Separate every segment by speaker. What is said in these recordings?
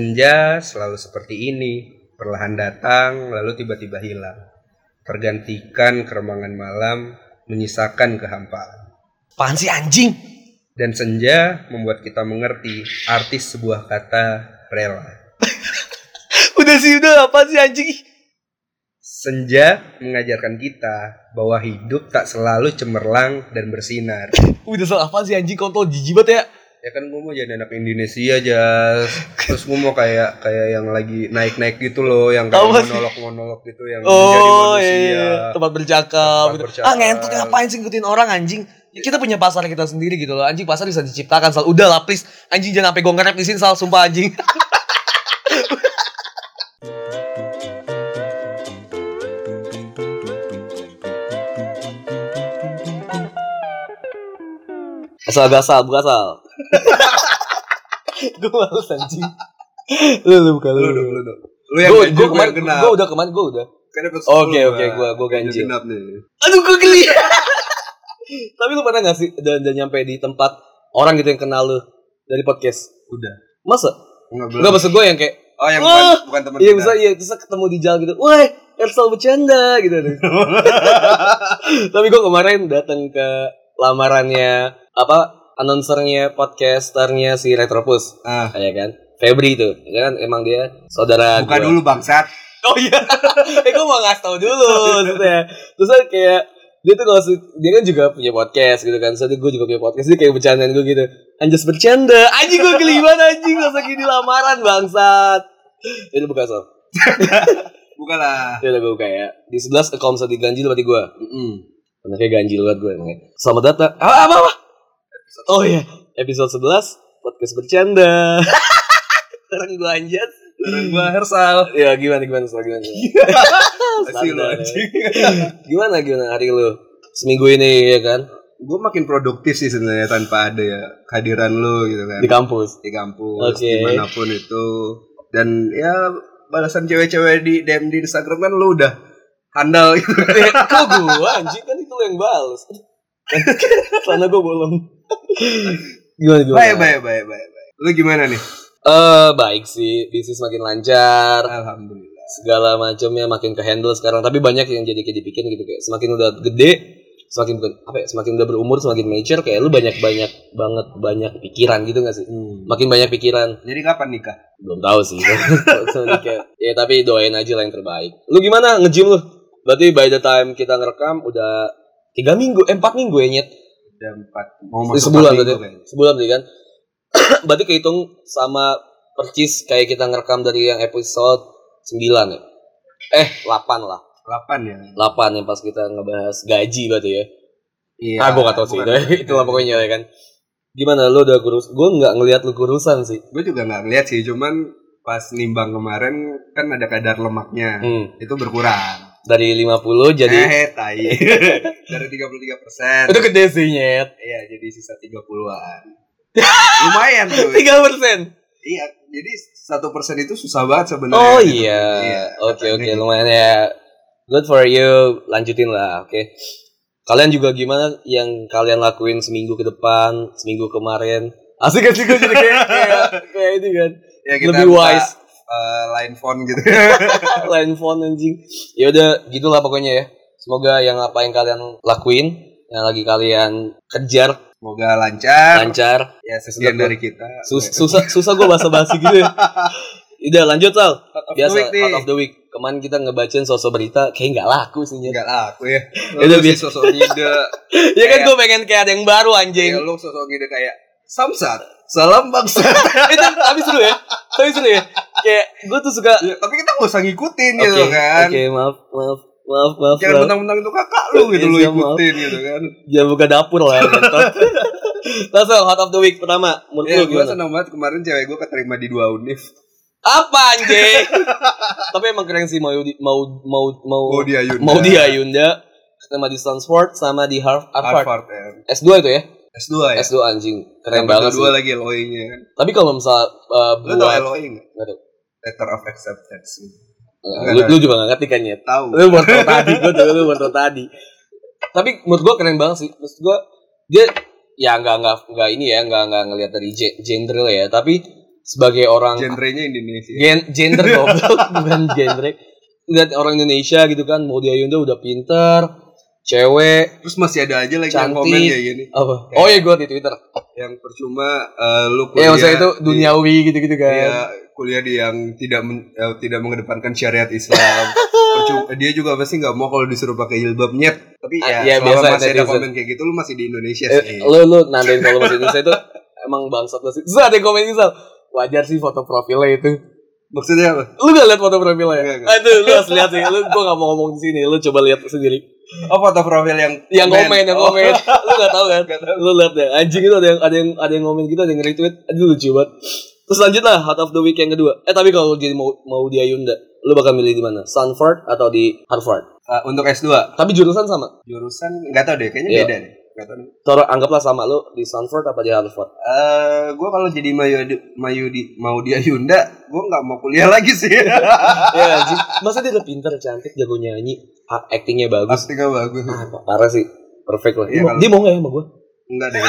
Speaker 1: Senja selalu seperti ini, perlahan datang lalu tiba-tiba hilang. Tergantikan keremangan malam, menyisakan kehampaan.
Speaker 2: Apaan sih anjing?
Speaker 1: Dan senja membuat kita mengerti artis sebuah kata rela.
Speaker 2: Udah sih udah apa sih anjing?
Speaker 1: Senja mengajarkan kita bahwa hidup tak selalu cemerlang dan bersinar.
Speaker 2: Udah salah apa sih anjing kontol jijik banget ya?
Speaker 1: Ya kan gue mau jadi anak Indonesia aja. Terus gue mau kayak kayak yang lagi naik-naik gitu loh, yang kayak
Speaker 2: Apa sih?
Speaker 1: monolog-monolog gitu yang menjadi
Speaker 2: Oh
Speaker 1: manusia.
Speaker 2: iya, tempat bercakap.
Speaker 1: Tempat
Speaker 2: gitu.
Speaker 1: bercakap.
Speaker 2: Ah ngentot ngapain sih ngikutin orang anjing? Ya, kita punya pasar kita sendiri gitu loh. Anjing pasar bisa diciptakan sal. Udah lah please. Anjing jangan sampai gue nge-rap di sini sal sumpah anjing. Asal gasal, bukan asal. gue males anjing. Lu lu bukan
Speaker 1: Lu
Speaker 2: lu.
Speaker 1: dong, lu dong. Lu yang
Speaker 2: Gue
Speaker 1: ganjil,
Speaker 2: gue
Speaker 1: gua
Speaker 2: kemarin
Speaker 1: yang genap.
Speaker 2: gue udah kemarin gue udah.
Speaker 1: Kan episode
Speaker 2: Oke,
Speaker 1: 10
Speaker 2: oke, gua- gua
Speaker 1: Ganjil
Speaker 2: ganjil.
Speaker 1: genap nih.
Speaker 2: Aduh gue geli. Tapi lu pernah gak sih dan, dan nyampe di tempat orang gitu yang kenal lu dari podcast?
Speaker 1: Udah.
Speaker 2: Masa?
Speaker 1: Enggak belum.
Speaker 2: Enggak maksud gue yang kayak
Speaker 1: Oh, yang
Speaker 2: Wah!
Speaker 1: bukan, bukan teman
Speaker 2: Iya
Speaker 1: kita.
Speaker 2: bisa iya terus ketemu di jalan gitu. Woi, Ersel bercanda gitu. Tapi gue kemarin datang ke lamarannya apa announcernya podcasternya si Retropus.
Speaker 1: Ah,
Speaker 2: Ya kan? Febri itu, ya kan emang dia saudara
Speaker 1: buka
Speaker 2: gua.
Speaker 1: dulu bangsat.
Speaker 2: Oh iya, eh gue mau ngasih tau dulu maksudnya. Terus kan kayak dia tuh kalau si- dia kan juga punya podcast gitu kan, jadi gue juga punya podcast dia kayak bercandaan gue gitu. Anjas bercanda, anjing gue keliman anjing masa gini lamaran bangsat. Jadi buka soal.
Speaker 1: Bukalah.
Speaker 2: Ya udah gue buka ya. Di sebelas kalau misalnya diganjil berarti gue.
Speaker 1: Heeh.
Speaker 2: Anaknya ganjil banget gue emangnya. Selamat datang. Ah, apa apa? Oh iya, episode 11 podcast bercanda. Orang gue anjas.
Speaker 1: Gua Hersal.
Speaker 2: Ya gimana gimana soal gimana?
Speaker 1: Asli lu
Speaker 2: Standar.
Speaker 1: anjing.
Speaker 2: gimana gimana hari lu seminggu ini ya kan
Speaker 1: Gue makin produktif sih sebenarnya tanpa ada ya kehadiran lu gitu kan.
Speaker 2: di kampus
Speaker 1: di kampus
Speaker 2: Oke.
Speaker 1: dimanapun itu dan ya balasan cewek-cewek di DM di Instagram kan lu udah handal gitu
Speaker 2: Eh, kok gua anjing kan itu lu yang balas karena gua bolong gimana gimana
Speaker 1: baik baik baik baik baik lu gimana nih
Speaker 2: Eh, baik sih bisnis makin lancar
Speaker 1: alhamdulillah
Speaker 2: segala macamnya makin ke handle sekarang tapi banyak yang jadi kayak dibikin gitu kayak semakin udah gede semakin bukan apa ya semakin udah berumur semakin mature kayak lu banyak banyak banget banyak pikiran gitu gak sih makin banyak pikiran
Speaker 1: jadi kapan nikah
Speaker 2: belum tahu sih Soalnya kayak- ya tapi doain aja lah yang terbaik lu gimana nge-gym lu berarti by the time kita ngerekam udah tiga minggu eh, empat minggu ya nyet
Speaker 1: udah empat mau
Speaker 2: Ini
Speaker 1: masuk empat
Speaker 2: sebulan
Speaker 1: minggu
Speaker 2: berarti
Speaker 1: kayaknya.
Speaker 2: sebulan sih kan berarti kehitung sama percis kayak kita ngerekam dari yang episode 9 ya eh 8 lah
Speaker 1: delapan ya
Speaker 2: 8 yang pas kita ngebahas gaji berarti ya
Speaker 1: iya
Speaker 2: ah gue gak tau sih itu itulah pokoknya ya kan gimana lu udah kurus gue nggak ngelihat lu kurusan sih
Speaker 1: gue juga nggak ngeliat sih cuman pas nimbang kemarin kan ada kadar lemaknya
Speaker 2: hmm.
Speaker 1: itu berkurang
Speaker 2: dari 50 jadi
Speaker 1: eh tai dari 33 persen
Speaker 2: itu gede sih nyet
Speaker 1: iya jadi sisa 30-an lumayan tuh
Speaker 2: tiga persen
Speaker 1: Iya, jadi satu persen itu susah banget sebenarnya.
Speaker 2: oh
Speaker 1: gitu.
Speaker 2: iya oke
Speaker 1: katanya
Speaker 2: oke
Speaker 1: gitu.
Speaker 2: lumayan ya good for you lanjutin lah oke kalian juga gimana yang kalian lakuin seminggu ke depan seminggu kemarin asik asik gue jadi kayak kayak, kayak ini kan
Speaker 1: Ya, kita
Speaker 2: lebih
Speaker 1: buka,
Speaker 2: wise
Speaker 1: eh, line phone gitu.
Speaker 2: lain phone anjing ya udah gitulah pokoknya ya semoga yang apa yang kalian lakuin yang lagi kalian kejar
Speaker 1: Semoga lancar.
Speaker 2: lancar
Speaker 1: Ya sekian
Speaker 2: Semoga-
Speaker 1: dari kita.
Speaker 2: Sus- susah susah gue bahasa basi gitu ya. udah lanjut Sal
Speaker 1: Out of the
Speaker 2: biasa
Speaker 1: week nih.
Speaker 2: out of the week kemarin kita ngebacain sosok berita kayak nggak laku sih Nyet.
Speaker 1: Enggak laku ya.
Speaker 2: Ya udah,
Speaker 1: Lu sih
Speaker 2: biasa.
Speaker 1: sosok ngide.
Speaker 2: ya kan gue pengen kayak ada yang baru
Speaker 1: Ya
Speaker 2: anjing
Speaker 1: lu sosok ngide kayak samsat. Salam bangsa.
Speaker 2: Eh, tapi, tapi seru ya tapi seru ya kayak gue tuh suka
Speaker 1: Ya, Tapi kita nggak usah ngikutin
Speaker 2: oke
Speaker 1: gitu kan.
Speaker 2: oke, maaf maaf maaf maaf
Speaker 1: Jangan
Speaker 2: maaf.
Speaker 1: mentang-mentang itu kakak lu gitu
Speaker 2: Iya,
Speaker 1: lu
Speaker 2: siap, maaf.
Speaker 1: ikutin gitu kan.
Speaker 2: jangan buka dapur lah ya, ngentot. langsung hot of the week pertama menurut
Speaker 1: Ya
Speaker 2: lu
Speaker 1: gue
Speaker 2: gimana
Speaker 1: senang banget kemarin cewek gue keterima di dua univ.
Speaker 2: apa anjing tapi emang keren sih mau di- mau mau mau
Speaker 1: Mau dia Yunda.
Speaker 2: Oh, mau dia Yunda sama di Stanford sama di Harv- Harvard,
Speaker 1: Harvard ya.
Speaker 2: S2 itu ya
Speaker 1: S2 ya.
Speaker 2: S2 anjing keren banget sih
Speaker 1: Dua lagi LOI-nya kan.
Speaker 2: tapi kalau misal uh,
Speaker 1: Lu tau
Speaker 2: buat
Speaker 1: LOI nggak?
Speaker 2: Nggak tahu.
Speaker 1: Letter of acceptance.
Speaker 2: Nah, lu, lu juga gak ngerti kan ya
Speaker 1: Tahu.
Speaker 2: lu baru tau tadi gue tuh lu baru tau tadi tapi menurut gue keren banget sih menurut gue dia ya nggak nggak nggak ini ya nggak nggak ngelihat dari gen- gender lah ya tapi sebagai orang
Speaker 1: Genrenya Indonesia.
Speaker 2: gen gender goblok bukan genre lihat orang Indonesia gitu kan mau dia Yunda udah pinter cewek
Speaker 1: Terus masih ada aja lagi yang
Speaker 2: Cantik.
Speaker 1: komen kayak gini.
Speaker 2: apa oh iya gue di Twitter
Speaker 1: Yang percuma eh, lu
Speaker 2: ya
Speaker 1: kuliah
Speaker 2: maksudnya itu
Speaker 1: di-
Speaker 2: duniawi gitu gitu kan
Speaker 1: Iya, kuliah di yang tidak men- eh, tidak mengedepankan syariat Islam. Percuma- dia juga pasti nggak mau kalau disuruh pakai jilbab nyet. Tapi
Speaker 2: Ah,
Speaker 1: ya,
Speaker 2: iya,
Speaker 1: selama
Speaker 2: biasa,
Speaker 1: masih ada
Speaker 2: netizen.
Speaker 1: komen kayak gitu lu masih di Indonesia
Speaker 2: Eh,
Speaker 1: sih.
Speaker 2: lu lu nandain kalau bahasa Indonesia itu emang bangsat lu sih terus ada yang komen misal wajar sih foto profilnya itu
Speaker 1: Maksudnya apa?
Speaker 2: lu gak lihat foto profilnya
Speaker 1: Nggak,
Speaker 2: ya?
Speaker 1: nggak.
Speaker 2: aduh lu harus lihat sih lu gue gak mau ngomong di sini lu coba lihat sendiri
Speaker 1: Oh, foto profil yang
Speaker 2: yang komen yang
Speaker 1: Oh,
Speaker 2: komen lu gak tahu kan
Speaker 1: nggak tahu.
Speaker 2: lu lihat deh anjing itu ada yang ada yang ada yang komen gitu ada yang retweet aduh lucu banget terus lanjut lah Heart of the Week yang kedua eh tapi kalau jadi mau mau di Ayunda lu bakal milih di mana Stanford atau di Harvard
Speaker 1: Ah, untuk S2
Speaker 2: tapi jurusan sama
Speaker 1: jurusan nggak tahu deh, kayaknya
Speaker 2: Iya.
Speaker 1: beda deh. Nggak tahu. deh.
Speaker 2: Toro anggaplah sama lu di Stanford apa di Harvard
Speaker 1: Eh, gue kalau jadi Mayu Mayudi mau dia Yunda, gue nggak mau kuliah lagi sih.
Speaker 2: ya anjing masa dia udah pinter cantik jago nyanyi a- actingnya bagus
Speaker 1: Pasti nggak bagus.
Speaker 2: ah, parah sih perfect lah
Speaker 1: Iya,
Speaker 2: dia, mau-
Speaker 1: kalau-
Speaker 2: dia mau gak ya sama gue
Speaker 1: Enggak deh.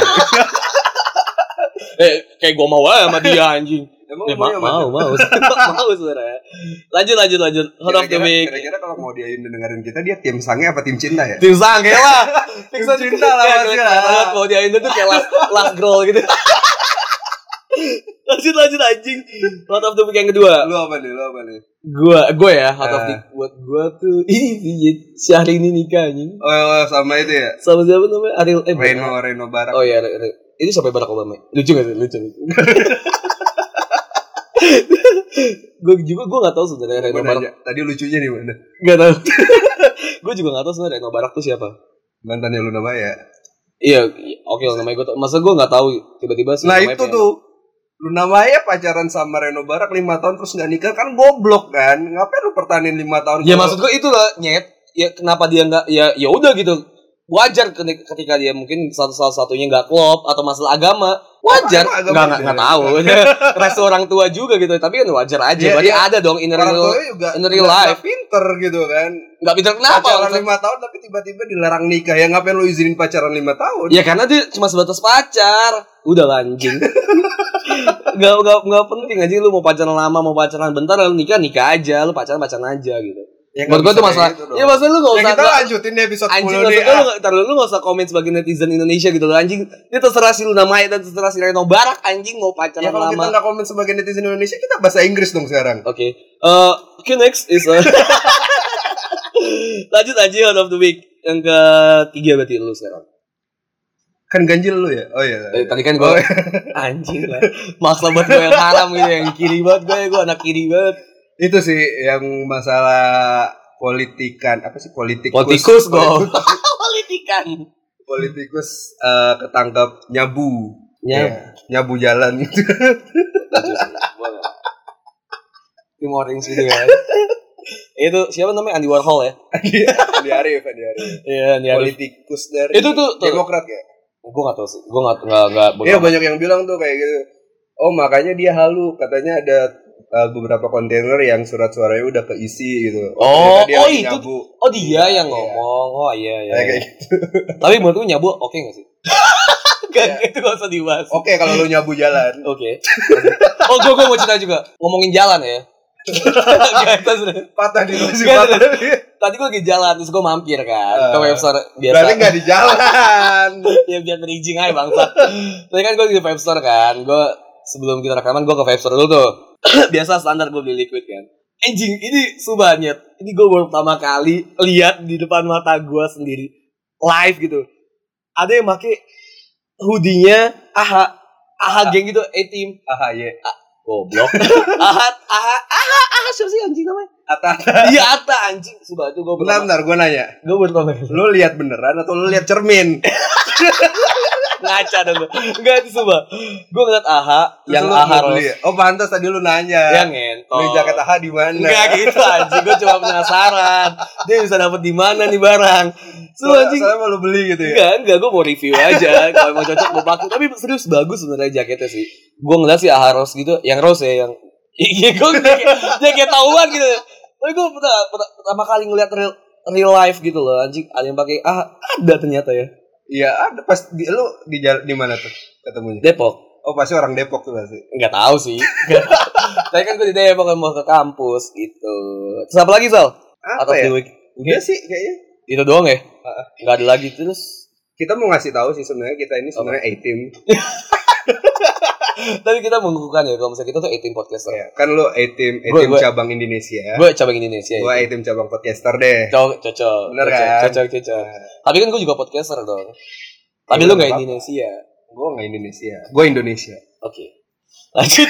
Speaker 2: eh kayak gue mau aja sama dia anjing
Speaker 1: Emang lu
Speaker 2: Eh, ma-
Speaker 1: yang
Speaker 2: mau, mau, mau, saudara. Lanjut, lanjut, lanjut. Heart of the
Speaker 1: Kira-kira-
Speaker 2: Week.
Speaker 1: Kira-kira kalau mau dia Yunda dengerin kita, dia tim sange apa tim cinta ya?
Speaker 2: Tim sange lah.
Speaker 1: Tim
Speaker 2: Tim
Speaker 1: cinta lah, ya. pasti lah.
Speaker 2: Kalau dia Indo tuh kayak last, last girl gitu. lanjut lanjut anjing. Heart of the week yang kedua.
Speaker 1: Lu apa nih? Lu apa nih?
Speaker 2: Gua gua ya heart of the
Speaker 1: Eh.
Speaker 2: buat gua tuh ini si hari ini nikah anjing.
Speaker 1: Oh, oh, sama itu ya.
Speaker 2: Sama siapa namanya? Ariel eh bukan.
Speaker 1: Reno Reno Barak.
Speaker 2: Oh iya, Re- Re- ini sampai Barack Obama. Lucu gak sih? Lucu. gue juga gue gak tahu sebenarnya Reno
Speaker 1: Gua
Speaker 2: Barak
Speaker 1: nanya, tadi lucunya di mana?
Speaker 2: gak tahu gue juga gak tahu sebenarnya Reno Barak tuh siapa
Speaker 1: Mantannya Luna Maya.
Speaker 2: Iya, iya, oke lah namanya gue tau. Masa gue nggak tahu tiba-tiba sih.
Speaker 1: Nah
Speaker 2: namanya
Speaker 1: itu
Speaker 2: pengen-
Speaker 1: tuh Luna Maya pacaran sama Reno Barak 5 tahun terus nggak nikah kan goblok kan? Ngapain lu pertahanin 5 tahun?
Speaker 2: Ya maksud gue itu lah nyet. Ya kenapa dia nggak? Ya ya udah gitu. Wajar keni- ketika dia mungkin satu salah satunya nggak klop atau masalah agama. Wajar.
Speaker 1: Apa
Speaker 2: Nggak
Speaker 1: agama
Speaker 2: nggak
Speaker 1: dia?
Speaker 2: nggak tahu. Iya, Restu orang tua juga gitu. Tapi kan wajar aja.
Speaker 1: Iya,
Speaker 2: Berarti
Speaker 1: iya.
Speaker 2: ada dong inner
Speaker 1: orang
Speaker 2: real.
Speaker 1: tuanya juga
Speaker 2: in real
Speaker 1: nggak-
Speaker 2: life.
Speaker 1: nggak pinter gitu kan.
Speaker 2: Nggak pinter kenapa?
Speaker 1: Pacaran 5 tahun tapi tiba-tiba dilarang nikah. Ya ngapain lu izinin pacaran 5 tahun?
Speaker 2: Ya karena dia cuma sebatas pacar. Udah lah, anjing. gak, gak, gak penting aja lu mau pacaran lama mau pacaran bentar lu nikah nikah aja lu pacaran pacaran aja gitu
Speaker 1: Ya, nggak
Speaker 2: Menurut gua
Speaker 1: bisa
Speaker 2: itu
Speaker 1: kayak
Speaker 2: masalah.
Speaker 1: gitu dong.
Speaker 2: ya maksudnya lu gak
Speaker 1: Ya,
Speaker 2: usah
Speaker 1: kita
Speaker 2: gak-
Speaker 1: lanjutin di episode
Speaker 2: anjing
Speaker 1: 10
Speaker 2: maksud
Speaker 1: nih.
Speaker 2: gua
Speaker 1: ah.
Speaker 2: lu gak- ntar dulu, lu gak usah komen sebagai netizen Indonesia gitu loh anjing. Dia terserah si Luna Maya dan terserah si Reno Barak anjing mau
Speaker 1: Ya
Speaker 2: pacaran
Speaker 1: kalau kita
Speaker 2: lama.
Speaker 1: nggak komen sebagai netizen Indonesia, kita bahasa Inggris dong sekarang.
Speaker 2: Oke. Eh okay, next is uh, lanjut anjing out of the week yang ketiga berarti lu sekarang.
Speaker 1: Kan ganjil lu ya? Oh iya.
Speaker 2: Eh, tadi kan gua anjing lah. Maksa buat gue yang haram gitu yang kiri banget gue, gue anak kiri banget.
Speaker 1: Itu sih yang masalah politikan apa sih politikus
Speaker 2: Politikus gue.
Speaker 1: Politikus-
Speaker 2: Politikan.
Speaker 1: politikus eh, ketangkap nyabu
Speaker 2: Ya.
Speaker 1: Ya, nyabu jalan gitu
Speaker 2: Tim orange gitu ya. Itu siapa namanya Andy Warhol ya?
Speaker 1: Andi Arief Andi Arief
Speaker 2: Iya, Andy Warhol.
Speaker 1: politikus dari
Speaker 2: Itu tuh, tuh.
Speaker 1: demokrat ya
Speaker 2: Gue gak tau sih, gue gak, gak, gak
Speaker 1: Iya banyak yang bilang tuh kayak gitu oh makanya dia halu katanya ada eh, beberapa kontainer yang surat suaranya udah keisi gitu
Speaker 2: Oh,
Speaker 1: ternyata dia
Speaker 2: oh,
Speaker 1: lagi
Speaker 2: itu-
Speaker 1: nyabu.
Speaker 2: Oh dia yang
Speaker 1: Iya.
Speaker 2: ngomong, oh iya iya
Speaker 1: Kayak-
Speaker 2: iya.
Speaker 1: kayak gitu.
Speaker 2: Tapi menurut gue nyabu oke gak sih? Gak,
Speaker 1: Iya.
Speaker 2: itu gak usah dibahas
Speaker 1: oke kalau lu nyabu jalan
Speaker 2: Oke Oh gue, gue mau cerita juga Ngomongin jalan ya Gak, terus,
Speaker 1: patah di masih
Speaker 2: Nggak,
Speaker 1: patah
Speaker 2: Tadi gue lagi jalan, terus gue mampir kan Ke
Speaker 1: Eh,
Speaker 2: webstore biasa
Speaker 1: berarti nggak di jalan
Speaker 2: Ya biar bridging aja bangsa Tadi kan gue di webstore kan Gue sebelum kita rekaman gue ke webstore dulu tuh Biasa standar gue beli liquid kan Anjing ini subhannya Ini gue baru pertama kali lihat di depan mata gue sendiri Live gitu Ada yang make hoodie-nya AHA AHA geng gitu, A-Team
Speaker 1: ah iya
Speaker 2: Goblok AHA, AHA, AHA, AHA siapa sih anjing namanya?
Speaker 1: Atta
Speaker 2: Iya Ata anjing Subhan itu gue
Speaker 1: bentar bentar gue nanya
Speaker 2: Gue baru pertama kali
Speaker 1: lu lihat beneran atau lu lihat cermin
Speaker 2: Ngaca dong gue Enggak itu subhan Gue ngeliat AHA
Speaker 1: Terus
Speaker 2: Yang
Speaker 1: lu Oh.
Speaker 2: AHA
Speaker 1: beli. Oh pantas tadi lu
Speaker 2: Ya
Speaker 1: nanya.
Speaker 2: ngentot.
Speaker 1: Beli jaket AHA di mana?
Speaker 2: Enggak gitu anjing, gue cuma penasaran. Dia bisa dapat di mana nih barang? So
Speaker 1: Soalnya-
Speaker 2: anjing.
Speaker 1: gitu. Soalnya mau lu beli gitu ya.
Speaker 2: Enggak, enggak, gue mau review aja. Kalau emang cocok gue pakai. Tapi serius bagus sebenarnya jaketnya sih. Gue ngeliat sih Aha Rose gitu, yang Rose ya yang Iya, gue jaket tahuan gitu. Tapi gue pertama, pertama kali ngeliat real, real life gitu loh anjing ada yang pakai ah ada ternyata ya
Speaker 1: Iya, ada pas di lu di jal- di mana tuh ketemunya?
Speaker 2: Depok
Speaker 1: Oh pasti orang Depok tuh pasti.
Speaker 2: Nggak tahu sih. Tapi kan gue di Depok mau ke kampus gitu. Terus apa lagi Sal?
Speaker 1: Apa
Speaker 2: Out of
Speaker 1: ya?
Speaker 2: the week.
Speaker 1: Udah sih kayaknya.
Speaker 2: Itu doang ya?
Speaker 1: Heeh.
Speaker 2: Nggak ada lagi terus.
Speaker 1: Kita mau ngasih tahu sih sebenarnya kita ini sebenarnya A team.
Speaker 2: Tapi kita mengukuhkan ya kalau misalnya kita tuh 18 podcaster.
Speaker 1: Kan lu A team, A
Speaker 2: Gua-
Speaker 1: team
Speaker 2: gua-
Speaker 1: cabang Indonesia.
Speaker 2: Gue cabang Indonesia.
Speaker 1: Gua A
Speaker 2: Ya.
Speaker 1: team cabang podcaster deh.
Speaker 2: Cocok, cocok.
Speaker 1: Bener
Speaker 2: Cocok,
Speaker 1: kan?
Speaker 2: Cocok, cocok. Tapi kan gue juga podcaster dong. Tapi
Speaker 1: Iya, nggak
Speaker 2: lu nggak
Speaker 1: apa-apa.
Speaker 2: Indonesia.
Speaker 1: Gue nggak Indonesia. Gue Indonesia.
Speaker 2: Oke. Lanjut.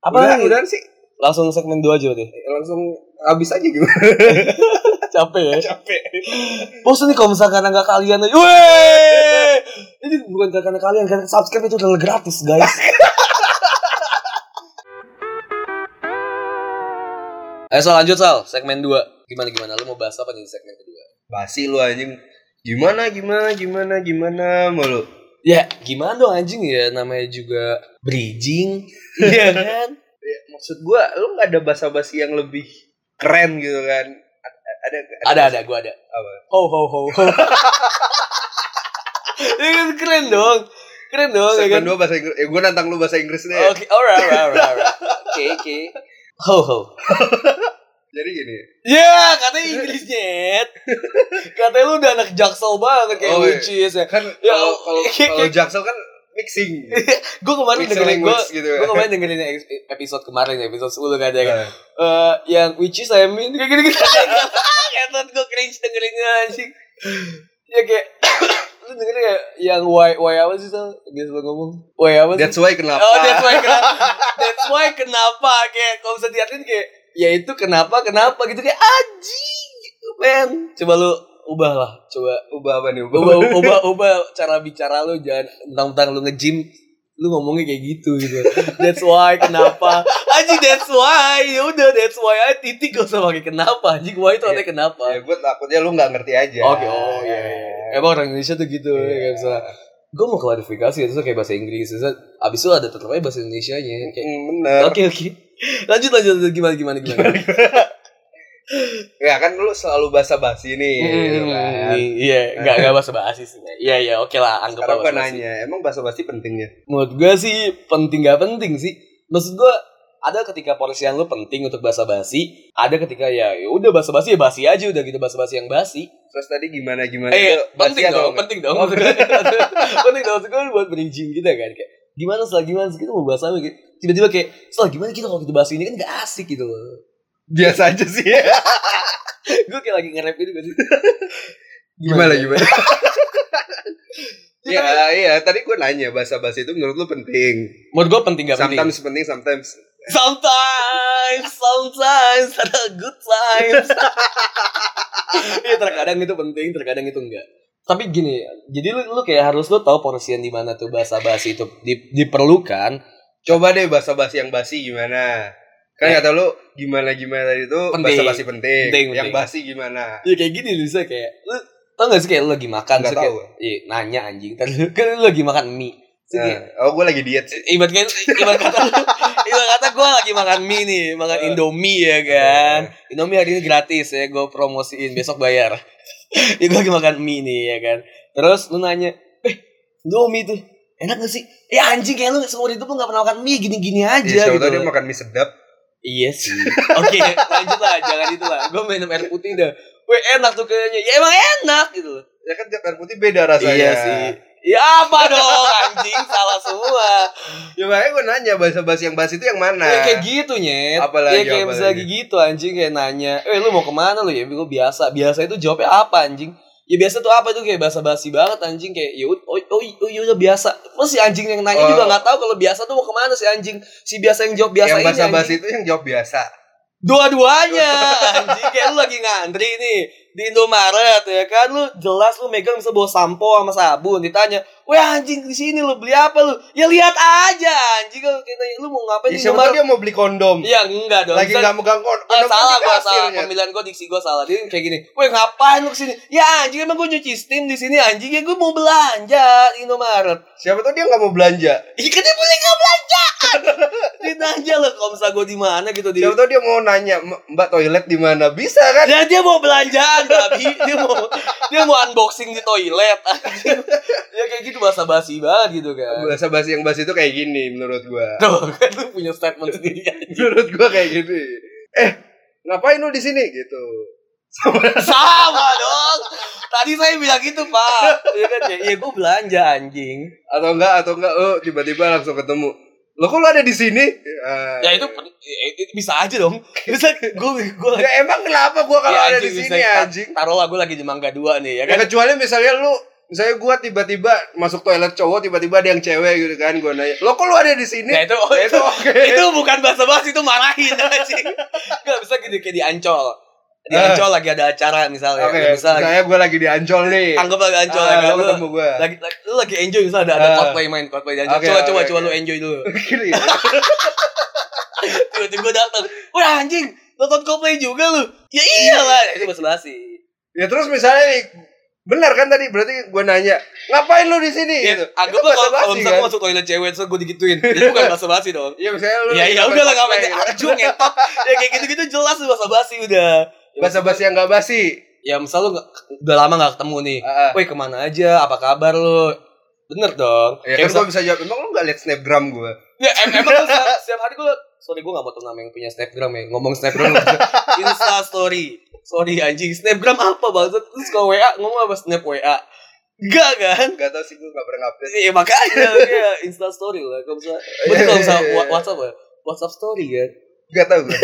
Speaker 2: apa
Speaker 1: udah,
Speaker 2: lagi?
Speaker 1: udahan sih
Speaker 2: Langsung segmen 2 aja deh.
Speaker 1: langsung habis aja gimana?
Speaker 2: Capek ya.
Speaker 1: Capek.
Speaker 2: Bos nih kalau misalkan nggak kalian aja. Weh! Ini bukan karena kalian, karena subscribe itu adalah gratis, guys. Ayo Eh, Sal, lanjut Sal, segmen 2 Gimana gimana, lu mau bahas apa nih di segmen kedua?
Speaker 1: Basi lu anjing. Gimana gimana gimana gimana mulu.
Speaker 2: Ya, gimana dong anjing ya, namanya juga bridging Iya kan?
Speaker 1: Ya, maksud gua lu nggak ada basa-basi yang lebih keren gitu kan. A- a- Ada
Speaker 2: Ada, ada, gua ada
Speaker 1: Apa?
Speaker 2: Ho, ho, ho Ini kan keren dong Keren dong, ya kan?
Speaker 1: Segmen
Speaker 2: Oh,
Speaker 1: dua bahasa Inggris. Ya gua nantang lu bahasa ya. Inggris deh.
Speaker 2: Oke, alright, alright, alright, alright. Oke, oke. Ho ho.
Speaker 1: Jadi gini.
Speaker 2: Ya, katanya Inggrisnya. Ed. katanya lu udah anak jaksel banget kayak
Speaker 1: Oh, iya.
Speaker 2: which is ya.
Speaker 1: Kan
Speaker 2: Ya,
Speaker 1: kalau kalau kalau Jaksel kan mixing.
Speaker 2: Gue kemarin
Speaker 1: Mixed
Speaker 2: dengerin gue
Speaker 1: language gitu.
Speaker 2: gue kemarin dengerin ex- episode kemarin ya, episode 10 kan ya kan.
Speaker 1: Eh,
Speaker 2: Eh, yang which is I mean kayak gini-gini. Ketot gue cringe dengerinnya anjing. Ya kayak lu dengerin kayak yang why why apa sih Sal? Biasa lu ngomong. Why apa
Speaker 1: Nah,
Speaker 2: sih?
Speaker 1: That's why kenapa?
Speaker 2: Oh, that's why kenapa? that's why kenapa kayak kalau bisa diartiin kayak ya itu kenapa kenapa gitu kayak anjing gitu, men. Coba lu ubah lah, coba
Speaker 1: Ubah apa nih?
Speaker 2: ubah
Speaker 1: Ubah.
Speaker 2: ubah ubah cara bicara lu jangan mentang-mentang lu nge-gym lu ngomongnya kayak gitu gitu. That's why kenapa? Anjing that's why. Ya udah that's why aja titik gak usah pakai kenapa. Anjing why itu artinya kenapa.
Speaker 1: Ya gue takutnya lu nggak ngerti aja.
Speaker 2: Oke, oh iya, iya. Emang orang Indonesia tuh gitu ya kan. Gue mau klarifikasi itu kayak bahasa Inggris, terus abis itu ada tetap aja bahasa Indonesianya kayak
Speaker 1: Hmm, Bener.
Speaker 2: Oke oke. Lanjut lanjut lanjut. gimana gimana gimana.
Speaker 1: Ya kan lu selalu basa-basi nih. gitu
Speaker 2: Hmm,
Speaker 1: kan.
Speaker 2: Iya, enggak enggak bahasa basi sih. Iya iya, oke lah anggap
Speaker 1: Sekarang gue
Speaker 2: basa-basi.
Speaker 1: nanya, emang basa-basi penting ya?
Speaker 2: Menurut gue sih penting gak penting sih. Maksud gue ada ketika porsi yang lu penting untuk bahasa basi, ada ketika ya ya udah bahasa basi ya basi aja udah gitu bahasa basi yang basi.
Speaker 1: Terus tadi gimana gimana Nah,
Speaker 2: Eh,
Speaker 1: itu basi
Speaker 2: penting
Speaker 1: atau
Speaker 2: dong,
Speaker 1: enggak?
Speaker 2: penting dong. penting dong, gue buat bridging kita kan kayak gimana setelah gimana sih kita mau bahas apa gitu. Tiba-tiba kayak setelah gimana kita kalau kita bahas ini kan gak asik gitu loh.
Speaker 1: Biasa aja sih.
Speaker 2: gue kayak lagi nge-rap gitu gak sih?
Speaker 1: gimana gimana?
Speaker 2: Ya,
Speaker 1: ya iya, tadi gue nanya basa-basi itu menurut lu penting.
Speaker 2: menurut gue penting gak penting?
Speaker 1: sometimes penting, sometimes.
Speaker 2: Sometimes, sometimes ada good times. Iya terkadang itu penting, terkadang itu enggak. Tapi gini, jadi lu, lu kayak harus lu tahu porsi yang di mana tuh bahasa basi itu di- diperlukan.
Speaker 1: Coba deh basa-basi yang basi gimana? Kan
Speaker 2: Ya.
Speaker 1: kata lu gimana gimana itu
Speaker 2: Penting.
Speaker 1: basa-basi penting.
Speaker 2: Penting,
Speaker 1: Yang
Speaker 2: penting.
Speaker 1: basi gimana?
Speaker 2: Ya kayak gini Lisa kayak lu tau gak sih kayak lu lagi makan
Speaker 1: Nggak
Speaker 2: terus kayak,
Speaker 1: tahu.
Speaker 2: Iya, nanya anjing. Tadi lu- kan lu lagi makan mie. Terus kayak,
Speaker 1: Nah, oh, gue lagi diet sih.
Speaker 2: ibarat kan ibarat kata ibarat kata gue lagi makan mie nih makan indomie ya kan indomie hari ini gratis ya gue promosiin besok bayar ya gue lagi makan mie nih ya kan terus lu nanya eh indomie tuh enak gak sih ya anjing kayak lu seumur hidup lu gak pernah makan mie gini-gini
Speaker 1: Iya,
Speaker 2: aja
Speaker 1: siapa
Speaker 2: gitu
Speaker 1: tahu dia
Speaker 2: loh.
Speaker 1: makan mie sedap.
Speaker 2: Iya sih. Oke, lanjut lah, jangan itu lah. Gue minum air putih dah. Weh enak tuh kayaknya. Ya emang enak gitu loh.
Speaker 1: Ya kan tiap air putih beda rasanya.
Speaker 2: Iya sih. Ya apa dong anjing salah semua.
Speaker 1: Ya makanya gue nanya bahasa-bahasa yang basi itu yang mana?
Speaker 2: Ya, kayak gitu nyet
Speaker 1: Nah, Apalagi,
Speaker 2: ya, kayak bisa
Speaker 1: apalagi.
Speaker 2: lagi gitu anjing kayak nanya eh lu mau kemana lu ya gue biasa biasa itu jawabnya apa anjing ya biasa tuh apa tuh kayak basa basi banget anjing kayak ya ud- oh oh oh ya udah biasa terus si anjing yang nanya
Speaker 1: Oh.
Speaker 2: juga nggak tahu kalau biasa tuh mau kemana si anjing si biasa yang jawab biasa
Speaker 1: yang
Speaker 2: ini anjing
Speaker 1: basa-basi itu yang jawab biasa.
Speaker 2: dua-duanya anjing kayak lu lagi ngantri nih di Indomaret ya kan lu jelas lu megang bisa bawa sampo sama sabun ditanya wah anjing di sini lu beli apa lu ya lihat aja anjing kalau kita nanya, lu mau
Speaker 1: Ya,
Speaker 2: ngapain di
Speaker 1: siapa tahu
Speaker 2: Indomaret
Speaker 1: dia mau beli kondom.
Speaker 2: Iya enggak dong.
Speaker 1: lagi
Speaker 2: Bisa-
Speaker 1: nggak megang kon-
Speaker 2: Ah,
Speaker 1: kondom.
Speaker 2: salah
Speaker 1: di
Speaker 2: gua
Speaker 1: kasir,
Speaker 2: salah
Speaker 1: Nyet.
Speaker 2: pemilihan gua diksi gua salah dia kayak gini weh ngapain lu kesini ya anjing emang gua nyuci steam di sini anjing ya gua mau belanja di Indomaret
Speaker 1: Siapa tahu dia nggak mau belanja.
Speaker 2: Ih, kan dia boleh nggak belanjaan ditanya lah kalau misalnya gua di mana gitu di
Speaker 1: Siapa tahu dia mau nanya "M- Mbak toilet di mana? Bisa kan?
Speaker 2: dan dia mau belanjaan nggak bi- dia mau dia mau unboxing di toilet anjing. ya kayak gitu bahasa basi banget gitu kan
Speaker 1: bahasa bahasa yang bahas itu kayak gini menurut gua
Speaker 2: tuh kan lu punya statement sendiri anjing.
Speaker 1: menurut gua kayak gini eh ngapain lu di sini gitu
Speaker 2: sama dong tadi saya bilang gitu pak ya kan ya, ya gue belanja anjing
Speaker 1: atau enggak atau enggak lo tiba-tiba langsung ketemu lo kok lo ada di sini Ah.
Speaker 2: ya itu, pen- ya, itu bisa aja dong bisa gue gue
Speaker 1: ya emang kenapa gua
Speaker 2: Iya,
Speaker 1: kalau
Speaker 2: Ya,
Speaker 1: ada di sini anjing
Speaker 2: taruh lagu lagi di Mangga Dua nih ya
Speaker 1: ya
Speaker 2: kan
Speaker 1: kecuali misalnya lu misalnya gua tiba-tiba masuk toilet cowok tiba-tiba ada yang cewek gitu kan gua nanya lo kok lo ada di sini
Speaker 2: Nah itu, oh,
Speaker 1: Ya,
Speaker 2: itu,
Speaker 1: itu oke.
Speaker 2: itu bukan bahasa basi itu marahin anjing. Gak bisa gitu kayak di Ancol. Di
Speaker 1: Eh.
Speaker 2: Ancol lagi ada acara misalnya.
Speaker 1: Oke,
Speaker 2: misalnya
Speaker 1: misalnya gue lagi di Ancol nih.
Speaker 2: anggap lagi Ancol
Speaker 1: Ah,
Speaker 2: lagi
Speaker 1: lu
Speaker 2: lu-
Speaker 1: ketemu gua.
Speaker 2: Lagi, lagi lu lagi enjoy misalnya ada ada
Speaker 1: Ah.
Speaker 2: Coldplay main Coldplay di Ancol.
Speaker 1: Oke,
Speaker 2: coba
Speaker 1: oke,
Speaker 2: coba
Speaker 1: oke.
Speaker 2: coba lu enjoy dulu.
Speaker 1: Gini.
Speaker 2: Tiba-tiba gue datang. Wah anjing, nonton Coldplay juga lu. Ya iyalah, itu bahasa basi.
Speaker 1: ya terus misalnya nih, benar kan tadi berarti gue nanya ngapain lu di sini?
Speaker 2: Ya,
Speaker 1: Gitu.
Speaker 2: anggap
Speaker 1: Itu
Speaker 2: lah
Speaker 1: bahasa
Speaker 2: kalau kalau
Speaker 1: basi,
Speaker 2: misalnya
Speaker 1: kan?
Speaker 2: gua masuk toilet cewek terus gue digituin. Itu bukan bahasa basi dong.
Speaker 1: Ya misalnya lu
Speaker 2: Ya
Speaker 1: lagi
Speaker 2: ya
Speaker 1: nonton
Speaker 2: udah lah ngapain
Speaker 1: cosplay, gitu.
Speaker 2: acung ngetok. Ya kayak gitu-gitu jelas tuh bahasa basi udah. Ya,
Speaker 1: Bahasa basi yang gak basi.
Speaker 2: ya misal lu nggak- udah lama gak ketemu nih
Speaker 1: Heeh. Ya
Speaker 2: Woi kemana aja, apa kabar lu? Bener dong
Speaker 1: Ya kan
Speaker 2: Kayak
Speaker 1: gue
Speaker 2: misal-
Speaker 1: bisa jawab, emang lu gak liat snapgram gue?
Speaker 2: Ya, em- emang lu setiap, setiap hari gue Sorry gue gak mau tau nama yang punya snapgram ya Ngomong snapgram lu Insta story Sorry anjing, snapgram apa banget Terus kalau WA ngomong apa snap WA Gak kan?
Speaker 1: Gak tau sih gue gak pernah update.
Speaker 2: Ya makanya kayak Insta story lah Kalau misalnya Berarti kalau misalnya wa- Whatsapp ya Whatsapp story kan
Speaker 1: Gak tau gue.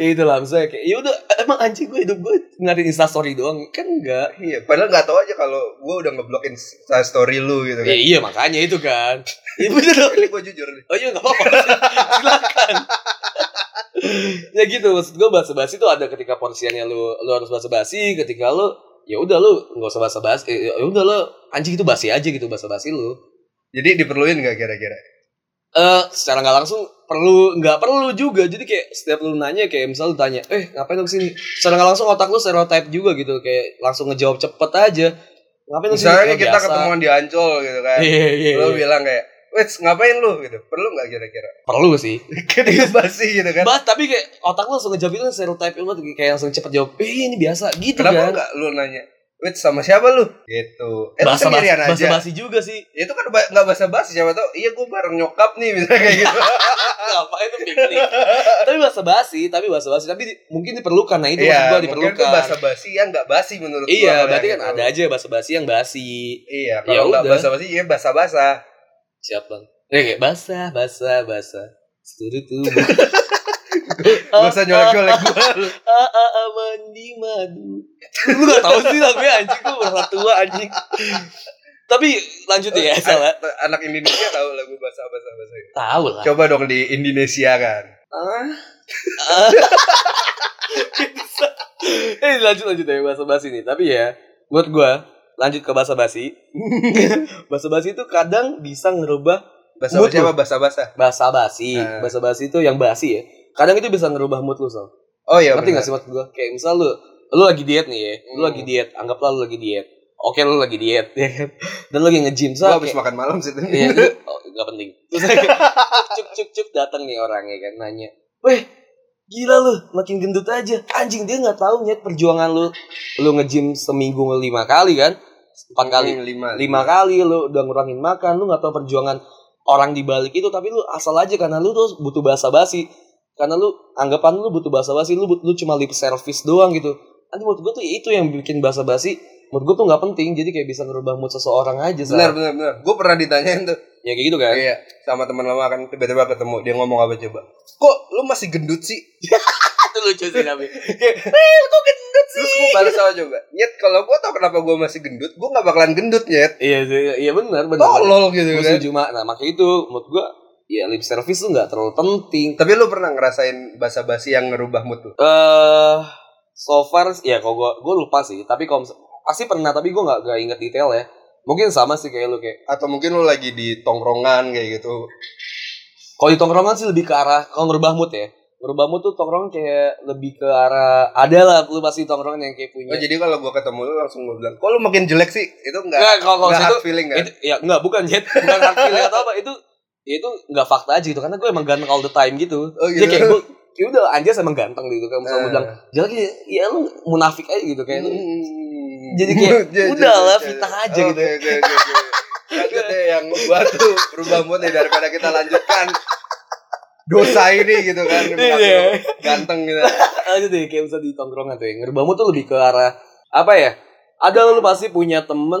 Speaker 2: Ya itu lah misalnya kayak Yaudah emang anjing gue hidup gue ngeliatin Insta story doang Kan enggak
Speaker 1: Iya, padahal gak tau aja kalau gue udah ngeblok Insta story lu gitu
Speaker 2: Ya
Speaker 1: kan.
Speaker 2: iya makanya itu kan. Ya bener dong.
Speaker 1: Ini gue jujur nih.
Speaker 2: Oh iya gak apa-apa. Silakan. ya gitu maksud gue bahasa basi itu ada ketika porsiannya lu lu harus bahasa basi, ketika lu ya udah lu nggak usah bahasa basi, eh, ya udah lu anjing itu basi aja gitu bahasa basi lu.
Speaker 1: Jadi diperluin gak kira-kira?
Speaker 2: Eh secara nggak langsung perlu nggak perlu juga jadi kayak setiap lu nanya kayak misal lu tanya eh ngapain lu kesini secara nggak langsung otak lu stereotype juga gitu kayak langsung ngejawab cepet aja ngapain lu kesini
Speaker 1: Misalnya
Speaker 2: "Ya,
Speaker 1: kita
Speaker 2: biasa."
Speaker 1: ketemuan di Ancol gitu kan.
Speaker 2: iya iya
Speaker 1: Lu
Speaker 2: iya.
Speaker 1: bilang kayak, Wits, ngapain lu gitu? Perlu gak kira-kira?
Speaker 2: perlu sih
Speaker 1: Kan? Kayak basi gitu kan.
Speaker 2: Bah, tapi kayak otak lu langsung ngejawab itu kan stereotype banget kayak langsung cepet jawab. Eh, ini biasa gitu
Speaker 1: Kenapa
Speaker 2: kan.
Speaker 1: enggak lu nanya? Wait sama siapa lu? Gitu. Eh, lu
Speaker 2: Bahasa
Speaker 1: sendirian
Speaker 2: bahasa
Speaker 1: aja.
Speaker 2: basi juga sih.
Speaker 1: Ya, itu kan ba- nggak bahasa basi siapa tau iya gue bareng nyokap nih misalnya kayak gitu
Speaker 2: Ngapain itu piknik? tapi bahasa basi, tapi bahasa basi, tapi di- mungkin diperlukan. Nah, itu maksud
Speaker 1: iya
Speaker 2: gua
Speaker 1: mungkin itu
Speaker 2: diperlukan.
Speaker 1: bahasa basi yang nggak basi menurut gua ya, gitu.
Speaker 2: Iya,
Speaker 1: kalau
Speaker 2: berarti
Speaker 1: yang
Speaker 2: kan
Speaker 1: itu.
Speaker 2: ada aja bahasa basi yang basi.
Speaker 1: iya
Speaker 2: Ya
Speaker 1: kalau nggak
Speaker 2: udah.
Speaker 1: bahasa basi iya bahasa basa
Speaker 2: Siap, Bang. Ya, kayak basah, basah, basah. Seluruh tubuh.
Speaker 1: nggak usah nyolek nyolek gue
Speaker 2: Ah, ah, ah, mandi madu. Lu gak tau sih lagunya anjing lu merasa tua anjing. Tapi lanjut ya, salah.
Speaker 1: anak Indonesia tahu lagu bahasa bahasa bahasa
Speaker 2: Tahu lah.
Speaker 1: coba dong di Indonesia kan
Speaker 2: Ah. eh lanjut lanjut ya bahasa basi nih. Tapi ya buat gua lanjut ke bahasa basi. bahasa basi itu kadang bisa ngerubah
Speaker 1: bahasa
Speaker 2: Mood
Speaker 1: basi
Speaker 2: lu.
Speaker 1: apa bahasa basa
Speaker 2: bahasa basi.
Speaker 1: Ah.
Speaker 2: Bahasa basi itu yang basi ya. Kadang itu bisa ngerubah mood lu Sal.
Speaker 1: oh iya
Speaker 2: Ngerti gak
Speaker 1: benar
Speaker 2: sih maksud gua? Kayak misal lu lu lagi diet nih ya. Lu
Speaker 1: Hmm.
Speaker 2: lagi diet, anggaplah lu lagi diet. Oke lu lagi diet ya kan. Dan lu lagi nge-gym.
Speaker 1: gue
Speaker 2: Sal,
Speaker 1: habis
Speaker 2: kayak-
Speaker 1: makan malam sih tadi.
Speaker 2: Iya, gitu. oh, gak penting. Terus cuk, cuk cuk cuk datang nih orangnya kan nanya, "Weh, gila lu, makin gendut aja." Anjing dia nggak tahu nyet perjuangan lu. Lu nge-gym seminggu lima kali kan? Empat kali.
Speaker 1: Hmm, lima
Speaker 2: Lima kali lu udah ngurangin makan, lu nggak tahu perjuangan orang di balik itu, tapi lu asal aja karena lu tuh butuh basa-basi. Karena lu anggapan lu butuh basa-basi, lu but- lu cuma lip service doang gitu. Nanti menurut gue tuh itu yang bikin basa-basi menurut gue tuh nggak penting jadi kayak bisa ngerubah mood seseorang aja Sal.
Speaker 1: benar benar benar gue pernah ditanyain tuh
Speaker 2: ya kayak gitu kan
Speaker 1: Iya, sama teman lama kan tiba-tiba ketemu dia ngomong apa coba? Kok lu masih gendut sih?
Speaker 2: itu lucu sih tapi
Speaker 1: Terus gue balas sama coba. Nyet kalau gua tau kenapa gua masih gendut, gua nggak bakalan gendut nyet.
Speaker 2: iya sih iya benar benar
Speaker 1: Tolol gitu
Speaker 2: gue
Speaker 1: kan.
Speaker 2: setuju mak nah makanya itu menurut gua ya lip service tuh nggak terlalu penting
Speaker 1: Tapi lu pernah ngerasain basa-basi yang ngerubah mood lu?
Speaker 2: eh so far ya kalau gua gua lupa sih tapi kalau mis- pasti pernah tapi gua nggak nggak inget detail ya mungkin sama sih kayak lu kayak
Speaker 1: Atau mungkin lu lagi di tongkrongan kayak gitu.
Speaker 2: kalau di tongkrongan sih lebih ke arah kalau ngerubah mood ya ngerubah mood tuh tongkrongan kayak lebih ke arah ada lah lu pasti tongkrongan yang kayak punya
Speaker 1: Oh, jadi kalau gua ketemu lu langsung gua bilang, "Kok lu makin jelek sih?" Itu enggak
Speaker 2: Nggak, kalau kalau
Speaker 1: enggak
Speaker 2: situ
Speaker 1: hard feeling kan?
Speaker 2: itu ya nggak bukan jet bukan hard feeling atau apa itu ya itu nggak fakta aja gitu karena gue emang ganteng all the time gitu
Speaker 1: Oh,
Speaker 2: Jadi
Speaker 1: gitu.
Speaker 2: kayak gue ya udah Anjas emang ganteng gitu kan misalnya
Speaker 1: Eh.
Speaker 2: gua bilang jelek ya, ya lu munafik aja gitu kayak lu
Speaker 1: jadi
Speaker 2: Jadi kayak, udah lah, fitnah aja gitu.
Speaker 1: Oke oke oke, oke. Lanjut deh yang buat tuh berubah mood nih daripada kita lanjutkan dosa ini gitu kan.
Speaker 2: Iya.
Speaker 1: Ganteng gitu.
Speaker 2: aja deh kayak misalnya di tongkrongan tuh ya. Ngerbamu tuh lebih ke arah apa ya? Ada lu pasti punya temen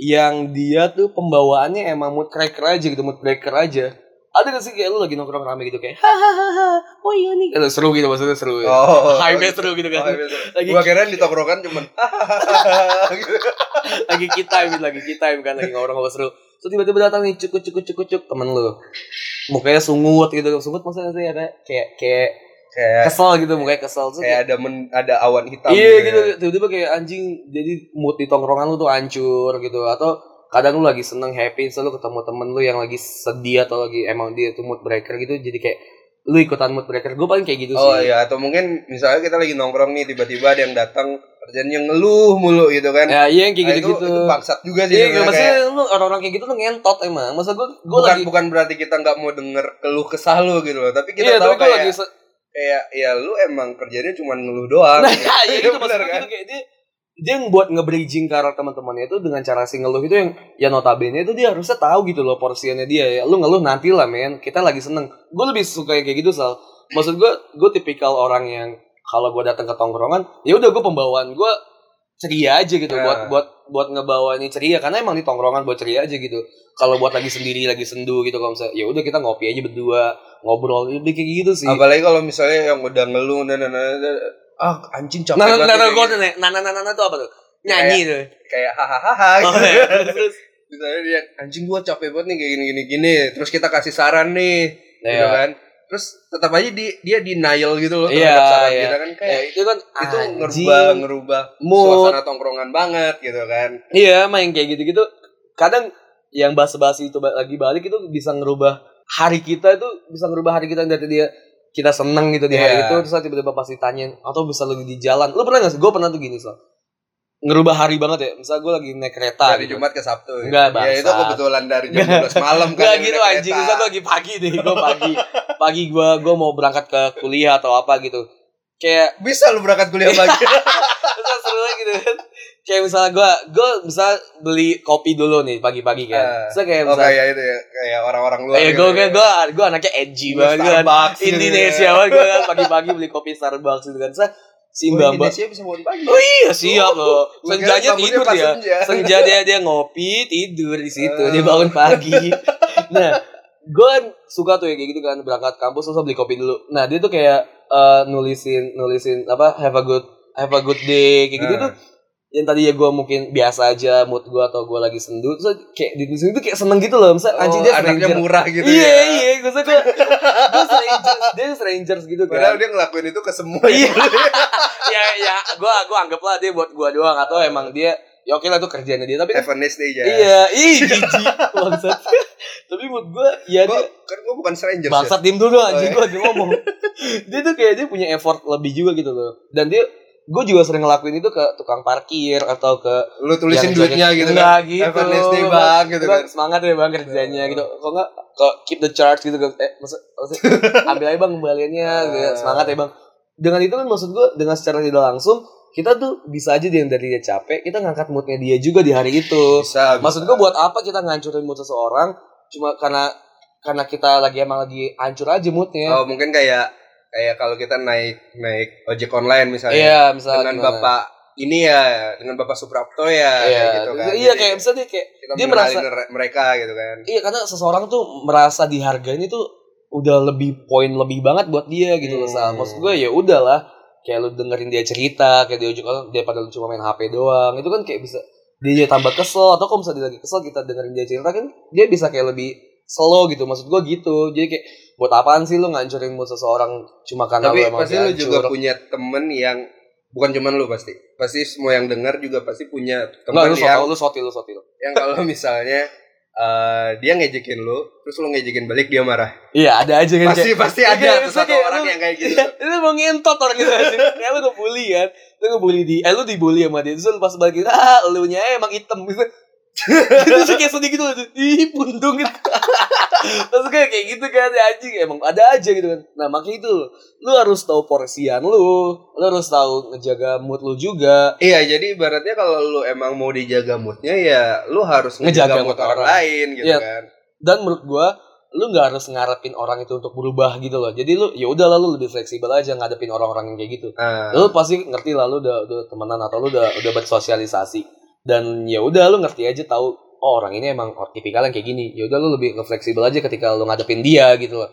Speaker 2: yang dia tuh pembawaannya emang mood cracker aja gitu, mood breaker aja. Ada gak sih kayak lu lagi nongkrong rame gitu kayak hahaha, oh iya nih, Kalau seru gitu maksudnya seru. Ya.
Speaker 1: Oh.
Speaker 2: Hype-nya seru gitu
Speaker 1: Oh,
Speaker 2: kan.
Speaker 1: gitu.
Speaker 2: Lagi
Speaker 1: Gua kira di tongkrongan cuman gitu.
Speaker 2: lagi kita gitu, lagi kita kan lagi ngobrol-ngobrol seru. Terus tiba-tiba datang nih cukut cukut cukut cuk temen lu. Mukanya sungut gitu. Sungut maksudnya sih ada kayak kayak
Speaker 1: kayak
Speaker 2: kesel gitu, mukanya kesel. Terus
Speaker 1: kayak ada men, ada awan hitam.
Speaker 2: Iya gitu tiba-tiba kayak anjing jadi mood di tongkrongan lu tuh hancur gitu atau kadang lu lagi seneng happy selalu ketemu temen lu yang lagi sedih atau lagi emang dia tuh mood breaker gitu jadi kayak lu ikutan mood breaker gue paling kayak gitu
Speaker 1: Oh
Speaker 2: sih
Speaker 1: iya atau mungkin misalnya kita lagi nongkrong nih tiba-tiba ada yang datang kerjanya ngeluh mulu gitu kan.
Speaker 2: ya iya yang kayak
Speaker 1: Nah,
Speaker 2: gitu gitu
Speaker 1: itu, itu bangsat juga sih.
Speaker 2: iya
Speaker 1: sebenarnya,
Speaker 2: maksudnya
Speaker 1: kayak-
Speaker 2: lu orang-orang kayak gitu lu ngentot emang masa gue gue
Speaker 1: bukan
Speaker 2: lagi
Speaker 1: bukan berarti kita nggak mau denger keluh kesah lu gitu loh tapi kita
Speaker 2: iya
Speaker 1: tahu
Speaker 2: tapi gue
Speaker 1: kayak
Speaker 2: lagi se-
Speaker 1: kayak ya lu emang kerjanya cuma ngeluh doang
Speaker 2: nah iya
Speaker 1: Iya,
Speaker 2: gitu maksud
Speaker 1: bener
Speaker 2: gue gitu, kayak dia dia yang buat nge-bridging ke arah teman-temannya itu dengan cara si ngeluh itu yang ya notabene itu dia harusnya tahu gitu loh porsiannya dia ya lu ngeluh nanti lah men kita lagi seneng gue lebih suka yang kayak gitu sal maksud gue gue tipikal orang yang kalau gue datang ke tongkrongan ya udah gue pembawaan gue ceria aja gitu
Speaker 1: Nah.
Speaker 2: buat buat buat ngebawanya ceria karena emang di tongkrongan buat ceria aja gitu kalau buat lagi sendiri lagi sendu gitu kalau misalnya ya udah kita ngopi aja berdua ngobrol lebih kayak gitu sih
Speaker 1: apalagi kalau misalnya yang udah ngeluh nah, dan dan dan- dan- ah anjing capek
Speaker 2: Nah,
Speaker 1: banget
Speaker 2: nah, nah, nah,
Speaker 1: kayak
Speaker 2: gua
Speaker 1: gitu.
Speaker 2: tuh nanya, nah, nah, nah, nah, nah, tuh apa tuh? Nyanyi tuh.
Speaker 1: kayak hahaha
Speaker 2: Oh,
Speaker 1: gitu
Speaker 2: iya. Terus,
Speaker 1: misalnya dia anjing gua capek banget nih kayak gini gini gini terus kita kasih saran nih gitu
Speaker 2: Iya,
Speaker 1: kan terus tetap aja di, dia denial gitu loh
Speaker 2: Iya,
Speaker 1: terhadap saran
Speaker 2: iya.
Speaker 1: kita kan
Speaker 2: Ya,
Speaker 1: kayak
Speaker 2: itu kan
Speaker 1: itu
Speaker 2: anjing,
Speaker 1: ngerubah ngerubah
Speaker 2: mood.
Speaker 1: suasana tongkrongan banget gitu kan
Speaker 2: Iya, main kayak gitu-gitu. Kadang yang basa-basi itu ba- lagi balik itu bisa ngerubah hari kita itu bisa ngerubah hari kita yang dari dia kita seneng gitu di
Speaker 1: Iya.
Speaker 2: hari itu terus tiba-tiba pasti tanyain atau bisa lagi di jalan. Lu pernah gak sih? Gue pernah tuh gini so. Ngerubah hari banget ya. Misal gue lagi naik kereta.
Speaker 1: dari
Speaker 2: gitu.
Speaker 1: Jumat ke Sabtu. gitu.
Speaker 2: Enggak,
Speaker 1: Ya itu
Speaker 2: bangsat.
Speaker 1: kebetulan dari jam 12 malam kan.
Speaker 2: Gak
Speaker 1: yang
Speaker 2: gitu
Speaker 1: naik
Speaker 2: anjing,
Speaker 1: kereta.
Speaker 2: misalnya lagi pagi deh, gue pagi Pagi gue gua mau berangkat ke kuliah atau apa gitu Kayak,
Speaker 1: Bisa lu berangkat kuliah
Speaker 2: Iya,
Speaker 1: pagi.
Speaker 2: terus seru lagi gitu kan Kayak misalnya gue, gue bisa beli kopi dulu nih
Speaker 1: Eh,
Speaker 2: pagi-pagi kan Terus kayak
Speaker 1: oh
Speaker 2: misalnya eh,
Speaker 1: kayak itu ya, kayak orang-orang luar. gitu ya.
Speaker 2: Kayak gue, gue, gue, gue anaknya edgy banget gue kan.
Speaker 1: Starbucks. gitu
Speaker 2: Indonesia
Speaker 1: ya.
Speaker 2: banget gue kan, pagi-pagi beli kopi Starbucks gitu kan Terus si
Speaker 1: Oh,
Speaker 2: mbak mbak
Speaker 1: Indonesia bisa bangun pagi.
Speaker 2: Oh iya siap loh
Speaker 1: Gua kira
Speaker 2: Senjanya
Speaker 1: bangunnya
Speaker 2: tidur
Speaker 1: pas
Speaker 2: ya
Speaker 1: senja.
Speaker 2: senja dia dia ngopi tidur di situ
Speaker 1: Ah.
Speaker 2: dia bangun pagi nah gue suka tuh ya kayak gitu kan berangkat kampus terus beli kopi dulu nah dia tuh kayak eh, nulisin nulisin apa have a good have a good day kayak gitu
Speaker 1: Ah.
Speaker 2: tuh yang tadi ya gue mungkin biasa aja mood gue atau gue lagi sendu terus kayak di sini tuh kayak seneng gitu loh misalnya
Speaker 1: Oh,
Speaker 2: anjing dia
Speaker 1: anaknya
Speaker 2: stranger
Speaker 1: murah gitu
Speaker 2: iya
Speaker 1: ya.
Speaker 2: iya gue gue strangers dia strangers gitu kan
Speaker 1: Padahal dia ngelakuin itu ke semua.
Speaker 2: Iya. ya ya gua gua anggaplah dia buat gua doang atau emang dia ya oke lah itu kerjanya dia tapi
Speaker 1: Have a nice day ya.
Speaker 2: iya ih jijik bangsat tapi buat gua ya
Speaker 1: Gua,
Speaker 2: dia
Speaker 1: kan gua bukan stranger.
Speaker 2: bangsat diem dulu anjing
Speaker 1: iya.
Speaker 2: gua lagi ngomong dia tuh kayak dia punya effort lebih juga gitu loh dan dia gua juga sering ngelakuin itu ke tukang parkir atau ke
Speaker 1: Sid. Lu tulisin
Speaker 2: yang-
Speaker 1: duitnya gitu kan.
Speaker 2: Iya, Enggak gitu
Speaker 1: Have a nice day bang gitu
Speaker 2: Bang,
Speaker 1: kan. Iya.
Speaker 2: semangat ya bang kerjanya gitu kok nggak kok keep the charge gitu kan eh maksud, maksud ambil aja bang kembaliannya gitu
Speaker 1: Iya.
Speaker 2: ya. semangat ya bang dengan itu kan maksud gue dengan secara tidak langsung kita tuh bisa aja dia yang dari dia capek kita ngangkat moodnya dia juga di hari itu
Speaker 1: Bisa.
Speaker 2: maksud gue buat apa kita ngancurin mood seseorang cuma karena karena kita lagi emang lagi hancur aja moodnya
Speaker 1: Oh, mungkin kayak kayak kalau kita naik naik ojek online misalnya.
Speaker 2: iya misalnya
Speaker 1: dengan
Speaker 2: gimana.
Speaker 1: bapak ini ya dengan bapak Suprapto ya
Speaker 2: iya
Speaker 1: kayak gitu kan
Speaker 2: iya
Speaker 1: Jadi
Speaker 2: kayak misalnya dia kayak
Speaker 1: kita
Speaker 2: dia
Speaker 1: mengenali
Speaker 2: merasa
Speaker 1: nere- mereka gitu kan
Speaker 2: Iya karena seseorang tuh merasa dihargain itu udah lebih poin lebih banget buat dia gitu loh Sal.
Speaker 1: Hmm.
Speaker 2: Maksud gue ya udahlah kayak lu dengerin dia cerita kayak dia juga dia pada lu cuma main HP doang itu kan kayak bisa dia jadi tambah kesel atau kalau misalnya dia lagi kesel kita dengerin dia cerita kan dia bisa kayak lebih slow gitu maksud gue gitu jadi kayak buat apaan sih lu ngancurin mood seseorang cuma karena
Speaker 1: tapi
Speaker 2: lu emang
Speaker 1: pasti lu
Speaker 2: lagi
Speaker 1: juga
Speaker 2: hancur.
Speaker 1: punya temen yang bukan cuman lu pasti pasti semua yang dengar juga pasti punya
Speaker 2: Enggak,
Speaker 1: temen
Speaker 2: lu
Speaker 1: yang
Speaker 2: sotil lu sotil lu sotil
Speaker 1: yang kalau misalnya eh, dia ngejekin lu terus lu ngejekin balik dia marah
Speaker 2: iya ada aja kan
Speaker 1: pasti pasti
Speaker 2: Iya,
Speaker 1: ada tuh
Speaker 2: maksudnya
Speaker 1: satu
Speaker 2: kayak
Speaker 1: orang
Speaker 2: lu-
Speaker 1: yang kayak gitu
Speaker 2: Iya, itu mau ngentot orang gitu anjing. Kayak lu ngebully kan. Lu ngebully di eh lu dibully sama dia. Terus lu pas balik gitu, ah, elunya emang hitam gitu. Itu sih kayak sedih gitu loh. Ih, pundung gitu. Terus kayak kayak gitu kan ya anjing emang ada aja gitu kan. Nah, makanya itu lu harus tahu porsian lu, lu harus tahu ngejaga mood lu juga.
Speaker 1: Iya, jadi ibaratnya kalau lu emang mau dijaga moodnya ya lu harus ngejaga,
Speaker 2: Ngejaga
Speaker 1: mood mood orang,
Speaker 2: orang.
Speaker 1: lain gitu
Speaker 2: Iya.
Speaker 1: kan.
Speaker 2: Dan menurut gua lu nggak harus ngarepin orang itu untuk berubah gitu loh. Jadi lu ya udahlah lu lebih fleksibel aja ngadepin orang-orang yang kayak gitu.
Speaker 1: Ah,
Speaker 2: lu pasti ngerti lah lu udah, udah temenan atau lu udah udah bersosialisasi dan ya udah lu ngerti aja tahu oh orang ini emang or- tipikal yang kayak gini ya udah lu lebih fleksibel aja ketika lu ngadepin dia gitu loh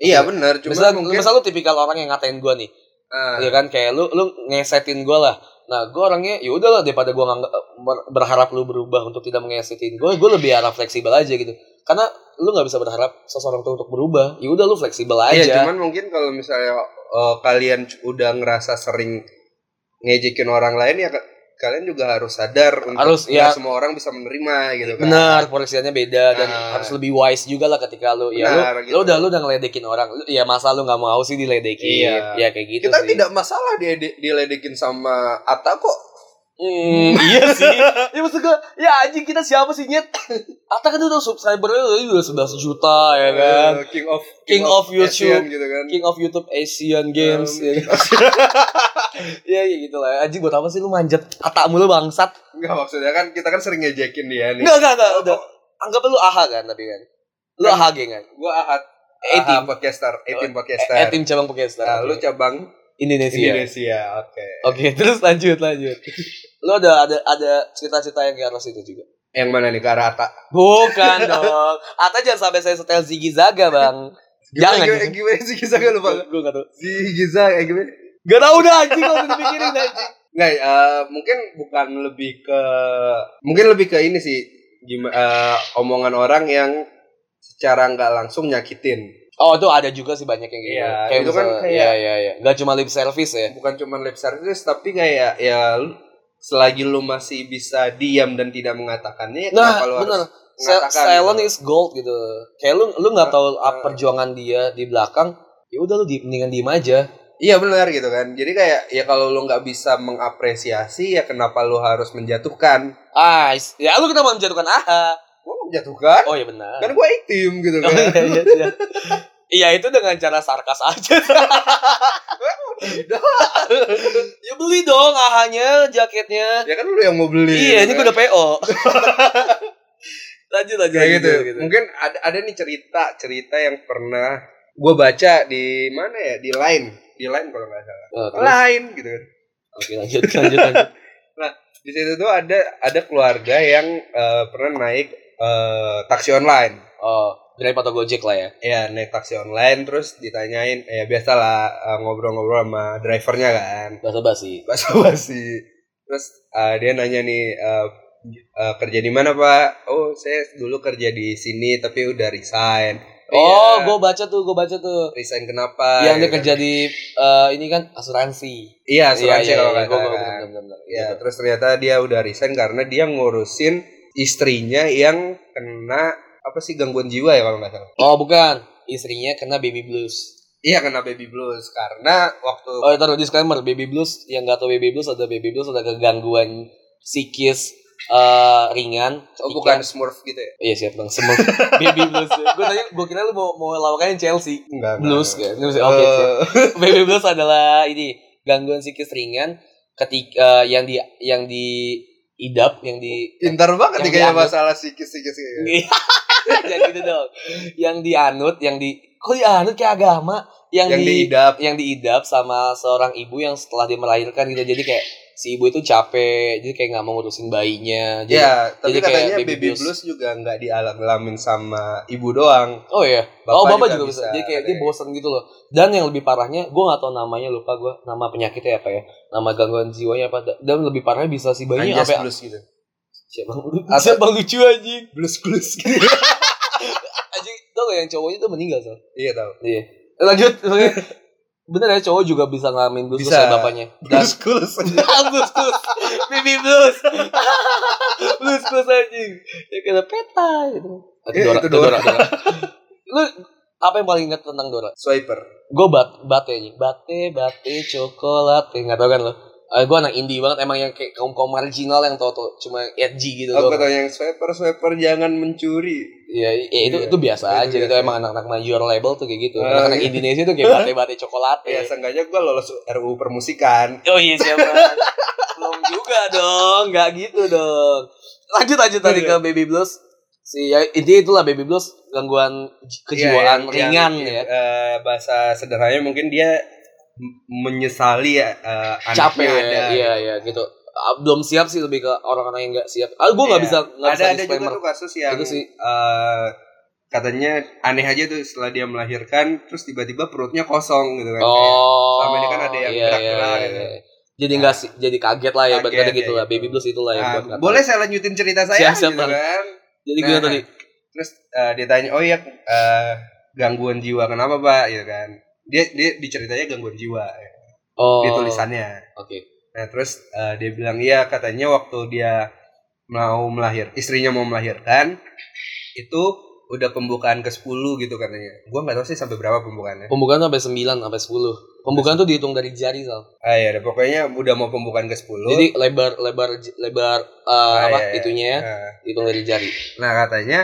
Speaker 1: iya benar, cuma
Speaker 2: misal
Speaker 1: mungkin
Speaker 2: misal lu tipikal orang yang ngatain gua nih
Speaker 1: ah,
Speaker 2: ya kan kayak lu lu ngesetin gua lah nah gua orangnya ya udahlah daripada gua ngangg- ber- berharap lu berubah untuk tidak mengesetin gua gua lebih arah fleksibel aja gitu karena lu nggak bisa berharap seseorang tuh untuk berubah ya udah lu fleksibel aja
Speaker 1: Iya, cuman mungkin kalau misalnya eh, kalian c- udah ngerasa sering ngejekin orang lain ya ka- kalian juga harus sadar untuk
Speaker 2: Harus,
Speaker 1: nggak
Speaker 2: ya.
Speaker 1: semua orang bisa menerima gitu kan.
Speaker 2: Benar, porsiannya beda dan
Speaker 1: Nah.
Speaker 2: harus lebih wise juga lah ketika lu ya lu,
Speaker 1: Benar, gitu.
Speaker 2: lu udah lu udah ngeledekin orang. Lu- ya masa lu nggak mau sih diledekin.
Speaker 1: Iya.
Speaker 2: Ya kayak gitu
Speaker 1: Kita
Speaker 2: sih.
Speaker 1: tidak masalah dia diledekin sama Ata kok.
Speaker 2: Hmm, iya sih. ya maksud gua, ya anjing kita siapa sih nyet? Ata kan udah subscriber udah 11 iya, juta ya kan.
Speaker 1: Eh, King of
Speaker 2: King of YouTube.
Speaker 1: Asian gitu kan.
Speaker 2: King of YouTube Asian
Speaker 1: Um,
Speaker 2: Games ya kan. ya kayak gitu lah. Anjing buat apa sih lu manjat Ata mulu bangsat?
Speaker 1: Enggak maksudnya kan kita kan sering ngejekin dia nih.
Speaker 2: Enggak, enggak, enggak, udah. Anggap lu AHA kan tapi kan. Lu
Speaker 1: Kan-
Speaker 2: AHA geng kan.
Speaker 1: Gua Ahat,
Speaker 2: A-team.
Speaker 1: Aha podcaster, A-team podcaster.
Speaker 2: Eh, tim cabang Pakistan.
Speaker 1: Nah, lu cabang
Speaker 2: Indonesia.
Speaker 1: Indonesia. Oke.
Speaker 2: Oke, terus lanjut lanjut. Lo ada ada ada cerita-cerita yang ke arah situ juga.
Speaker 1: Yang mana nih ke arah Ata?
Speaker 2: Bukan dong. Atau jangan sampai saya setel Ziggy Zaga, Bang.
Speaker 1: Gimana,
Speaker 2: Jangan,
Speaker 1: Gimana,
Speaker 2: jangan.
Speaker 1: gimana sih kisah gue lupa.
Speaker 2: Gue gak tau.
Speaker 1: Si Giza kayak gimana?
Speaker 2: Gak tau udah anjing kalau udah dipikirin anjing.
Speaker 1: Nggak, eh, mungkin bukan lebih ke mungkin lebih ke ini sih gimana omongan orang yang secara nggak langsung nyakitin.
Speaker 2: Oh, itu ada juga sih banyak yang gitu.
Speaker 1: Iya,
Speaker 2: kayak
Speaker 1: itu kan
Speaker 2: misalnya-
Speaker 1: kayak-
Speaker 2: Iya, iya, iya. Gak cuma lip service ya.
Speaker 1: Bukan cuma lip service tapi kayak ya lu- selagi lu masih bisa diam dan tidak mengatakannya ya
Speaker 2: Nah,
Speaker 1: kenapa lu harus
Speaker 2: bener. Se-
Speaker 1: mengatakan
Speaker 2: Silent
Speaker 1: gitu?
Speaker 2: is gold gitu. Nah. Kayak lu lu nggak tahu
Speaker 1: Ah, ah.
Speaker 2: perjuangan dia di belakang. Ya udah lu di, mendingan diem aja.
Speaker 1: Iya benar gitu kan. Jadi kayak ya kalau lu nggak bisa mengapresiasi ya kenapa lu harus menjatuhkan?
Speaker 2: Ah, is- ya lu kenapa menjatuhkan aha?
Speaker 1: Gua nggak menjatuhkan.
Speaker 2: Oh ya benar.
Speaker 1: Kan gua itim gitu
Speaker 2: Oh,
Speaker 1: kan.
Speaker 2: iya, iya, iya. Iya itu dengan cara sarkas aja. ya beli dong ahanya jaketnya.
Speaker 1: ya kan lu yang mau beli.
Speaker 2: Iya ini
Speaker 1: kan?
Speaker 2: gue udah PO. lanjut lanjut.
Speaker 1: kayak
Speaker 2: lanjut,
Speaker 1: gitu.
Speaker 2: lanjut, lanjut.
Speaker 1: Mungkin ada ada nih cerita cerita yang pernah gue baca di mana ya di line di line kalau nggak salah
Speaker 2: Oh, terus.
Speaker 1: line gitu kan
Speaker 2: Oke lanjut lanjut lanjut.
Speaker 1: di situ tuh ada ada keluarga yang eh, pernah naik eh, taksi online
Speaker 2: Oh grab atau gojek lah ya.
Speaker 1: ya naik taksi online terus ditanyain ya biasalah eh, ngobrol-ngobrol sama drivernya kan
Speaker 2: Bahasa basi.
Speaker 1: basa basi terus eh, dia nanya nih eh, eh, kerja di mana pak oh saya dulu kerja di sini tapi udah resign
Speaker 2: Oh
Speaker 1: Iya.
Speaker 2: gue baca tuh gue baca tuh.
Speaker 1: resign kenapa
Speaker 2: Yang dia
Speaker 1: gitu kan.
Speaker 2: kerja di eh, ini kan asuransi.
Speaker 1: Iya, asuransi
Speaker 2: Iya, iya,
Speaker 1: kalau
Speaker 2: iya,
Speaker 1: nggak
Speaker 2: gua-
Speaker 1: salah
Speaker 2: gua-
Speaker 1: kan.
Speaker 2: bener, bener, bener.
Speaker 1: Iya, terus ternyata dia udah resign karena dia ngurusin istrinya yang kena apa sih gangguan jiwa ya kalau nggak salah.
Speaker 2: Oh bukan istrinya kena baby blues.
Speaker 1: Iya, kena baby blues karena waktu
Speaker 2: Oh, ya, taruh disclaimer, baby blues yang nggak tahu baby blues ada baby blues ada kegangguan psikis eh, ringan.
Speaker 1: oh,
Speaker 2: Ketika-
Speaker 1: bukan smurf gitu ya.
Speaker 2: Iya siap bang, semua baby blues. Gue tanya, gue kira lu mau mau lawakannya Chelsea
Speaker 1: Enggak.
Speaker 2: blues
Speaker 1: enggak.
Speaker 2: kan? Terus, Oke,
Speaker 1: Eh,
Speaker 2: siap. baby blues adalah ini gangguan psikis ringan ketika eh, yang di yang di idap yang di
Speaker 1: Pintar banget
Speaker 2: Yang
Speaker 1: nih kayak
Speaker 2: dianggap-
Speaker 1: masalah psikis-psikis kayak gitu.
Speaker 2: Jangan Iya. gitu dong. Yang dianut, yang di kok dianut kayak agama, yang,
Speaker 1: Yang
Speaker 2: di
Speaker 1: diidap.
Speaker 2: yang diidap sama seorang ibu yang setelah dia melahirkan gitu. Jadi kayak si ibu itu capek, jadi kayak nggak mau ngurusin bayinya. Jadi,
Speaker 1: Iya, tapi
Speaker 2: jadi kayak
Speaker 1: katanya
Speaker 2: baby
Speaker 1: baby,
Speaker 2: blues.
Speaker 1: blues. juga nggak dialamin sama ibu doang.
Speaker 2: Oh iya.
Speaker 1: Bapak
Speaker 2: oh bapak
Speaker 1: juga
Speaker 2: juga
Speaker 1: bisa,
Speaker 2: bisa. Jadi kayak dia
Speaker 1: katanya.
Speaker 2: bosen gitu loh. Dan yang lebih parahnya, gue nggak tahu namanya lupa gue nama penyakitnya apa ya, nama gangguan jiwanya apa. Dan lebih parahnya bisa si bayinya
Speaker 1: Anjas
Speaker 2: apa?
Speaker 1: blues gitu.
Speaker 2: Siapa siapa lucu anjing?
Speaker 1: Blues blues gitu.
Speaker 2: Anjing, tau gak yang cowoknya tuh meninggal so.
Speaker 1: Iya tahu.
Speaker 2: Iya. Lanjut. Oke. Bener ya cowok juga bisa ngalamin blues
Speaker 1: Bisa.
Speaker 2: kayak bapaknya. Dan
Speaker 1: Blues blues.
Speaker 2: blues blues. Mimi blues. blues blues anjing. Ya kena peta gitu. Itu
Speaker 1: Iya,
Speaker 2: Dora,
Speaker 1: itu
Speaker 2: itu
Speaker 1: Dora.
Speaker 2: Dora. Dora. Lu apa yang paling ingat tentang Dora?
Speaker 1: Swiper.
Speaker 2: Gue bat bate anjing. Bate, bate, coklat. Enggak tau kan lo? eh, gue anak indie banget emang yang kayak kaum kaum marginal yang tau tau cuma edgy gitu
Speaker 1: Oh,
Speaker 2: loh.
Speaker 1: kata yang swiper swiper jangan mencuri.
Speaker 2: Iya, iya, itu
Speaker 1: Iya.
Speaker 2: itu biasa
Speaker 1: Itu
Speaker 2: aja gitu
Speaker 1: biasa.
Speaker 2: emang anak-anak major label tuh kayak gitu.
Speaker 1: Ah,
Speaker 2: Anak-anak
Speaker 1: iya.
Speaker 2: Indonesia tuh kayak bate-bate coklat.
Speaker 1: Ya seenggaknya gue lolos RUU permusikan.
Speaker 2: Oh iya siapa? Belum juga dong, nggak gitu dong. Lanjut lanjut tadi
Speaker 1: Iya,
Speaker 2: ke baby blues. Si ya, intinya itulah baby blues gangguan j- kejiwaan
Speaker 1: Iya, yang-
Speaker 2: ringan
Speaker 1: yang,
Speaker 2: ya.
Speaker 1: eh, bahasa sederhananya mungkin dia m- menyesali ya eh, anaknya
Speaker 2: Capek
Speaker 1: ada.
Speaker 2: iya iya gitu. Ah, Belum siap sih lebih ke orang-orang yang nggak siap. Ah, gue nggak
Speaker 1: Iya.
Speaker 2: bisa nggak
Speaker 1: ada
Speaker 2: bisa
Speaker 1: ada juga
Speaker 2: disclaimer.
Speaker 1: tuh kasus yang
Speaker 2: Itu sih.
Speaker 1: eh, katanya aneh aja tuh setelah dia melahirkan terus tiba-tiba perutnya kosong gitu kan.
Speaker 2: Oh, iya,
Speaker 1: Selama ini kan ada yang gerak-gerak gitu.
Speaker 2: Jadi nggak sih, jadi kaget lah ya,
Speaker 1: Kaget,
Speaker 2: kaget, gitu
Speaker 1: iya,
Speaker 2: lah.
Speaker 1: iya.
Speaker 2: Baby blues itulah
Speaker 1: Kayak,
Speaker 2: yang
Speaker 1: "Ah,
Speaker 2: gua nggak tahu.
Speaker 1: boleh saya lanjutin cerita saya
Speaker 2: Siap, siap,
Speaker 1: gitu
Speaker 2: Bang.
Speaker 1: kan.
Speaker 2: Jadi gimana
Speaker 1: Nah.
Speaker 2: Iya, tadi?
Speaker 1: Terus eh, dia tanya, "Oh iya eh, gangguan jiwa kenapa, Pak?" gitu kan. Dia dia diceritanya gangguan jiwa ya,
Speaker 2: Oh,
Speaker 1: di
Speaker 2: Oke.
Speaker 1: tulisannya. Nah terus eh, dia bilang iya katanya waktu dia mau melahir istrinya mau melahirkan itu udah pembukaan ke 10 gitu katanya. Gua nggak tahu sih sampai berapa pembukaannya.
Speaker 2: Pembukaan tuh sampai 9 sampai 10. Pembukaan tuh dihitung dari jari, Sal.
Speaker 1: Ah ya pokoknya udah mau pembukaan ke 10.
Speaker 2: Jadi lebar lebar lebar eh,
Speaker 1: Ah,
Speaker 2: apa
Speaker 1: iya, iya.
Speaker 2: itunya ya,
Speaker 1: Nah,
Speaker 2: hitung dari jari.
Speaker 1: nah katanya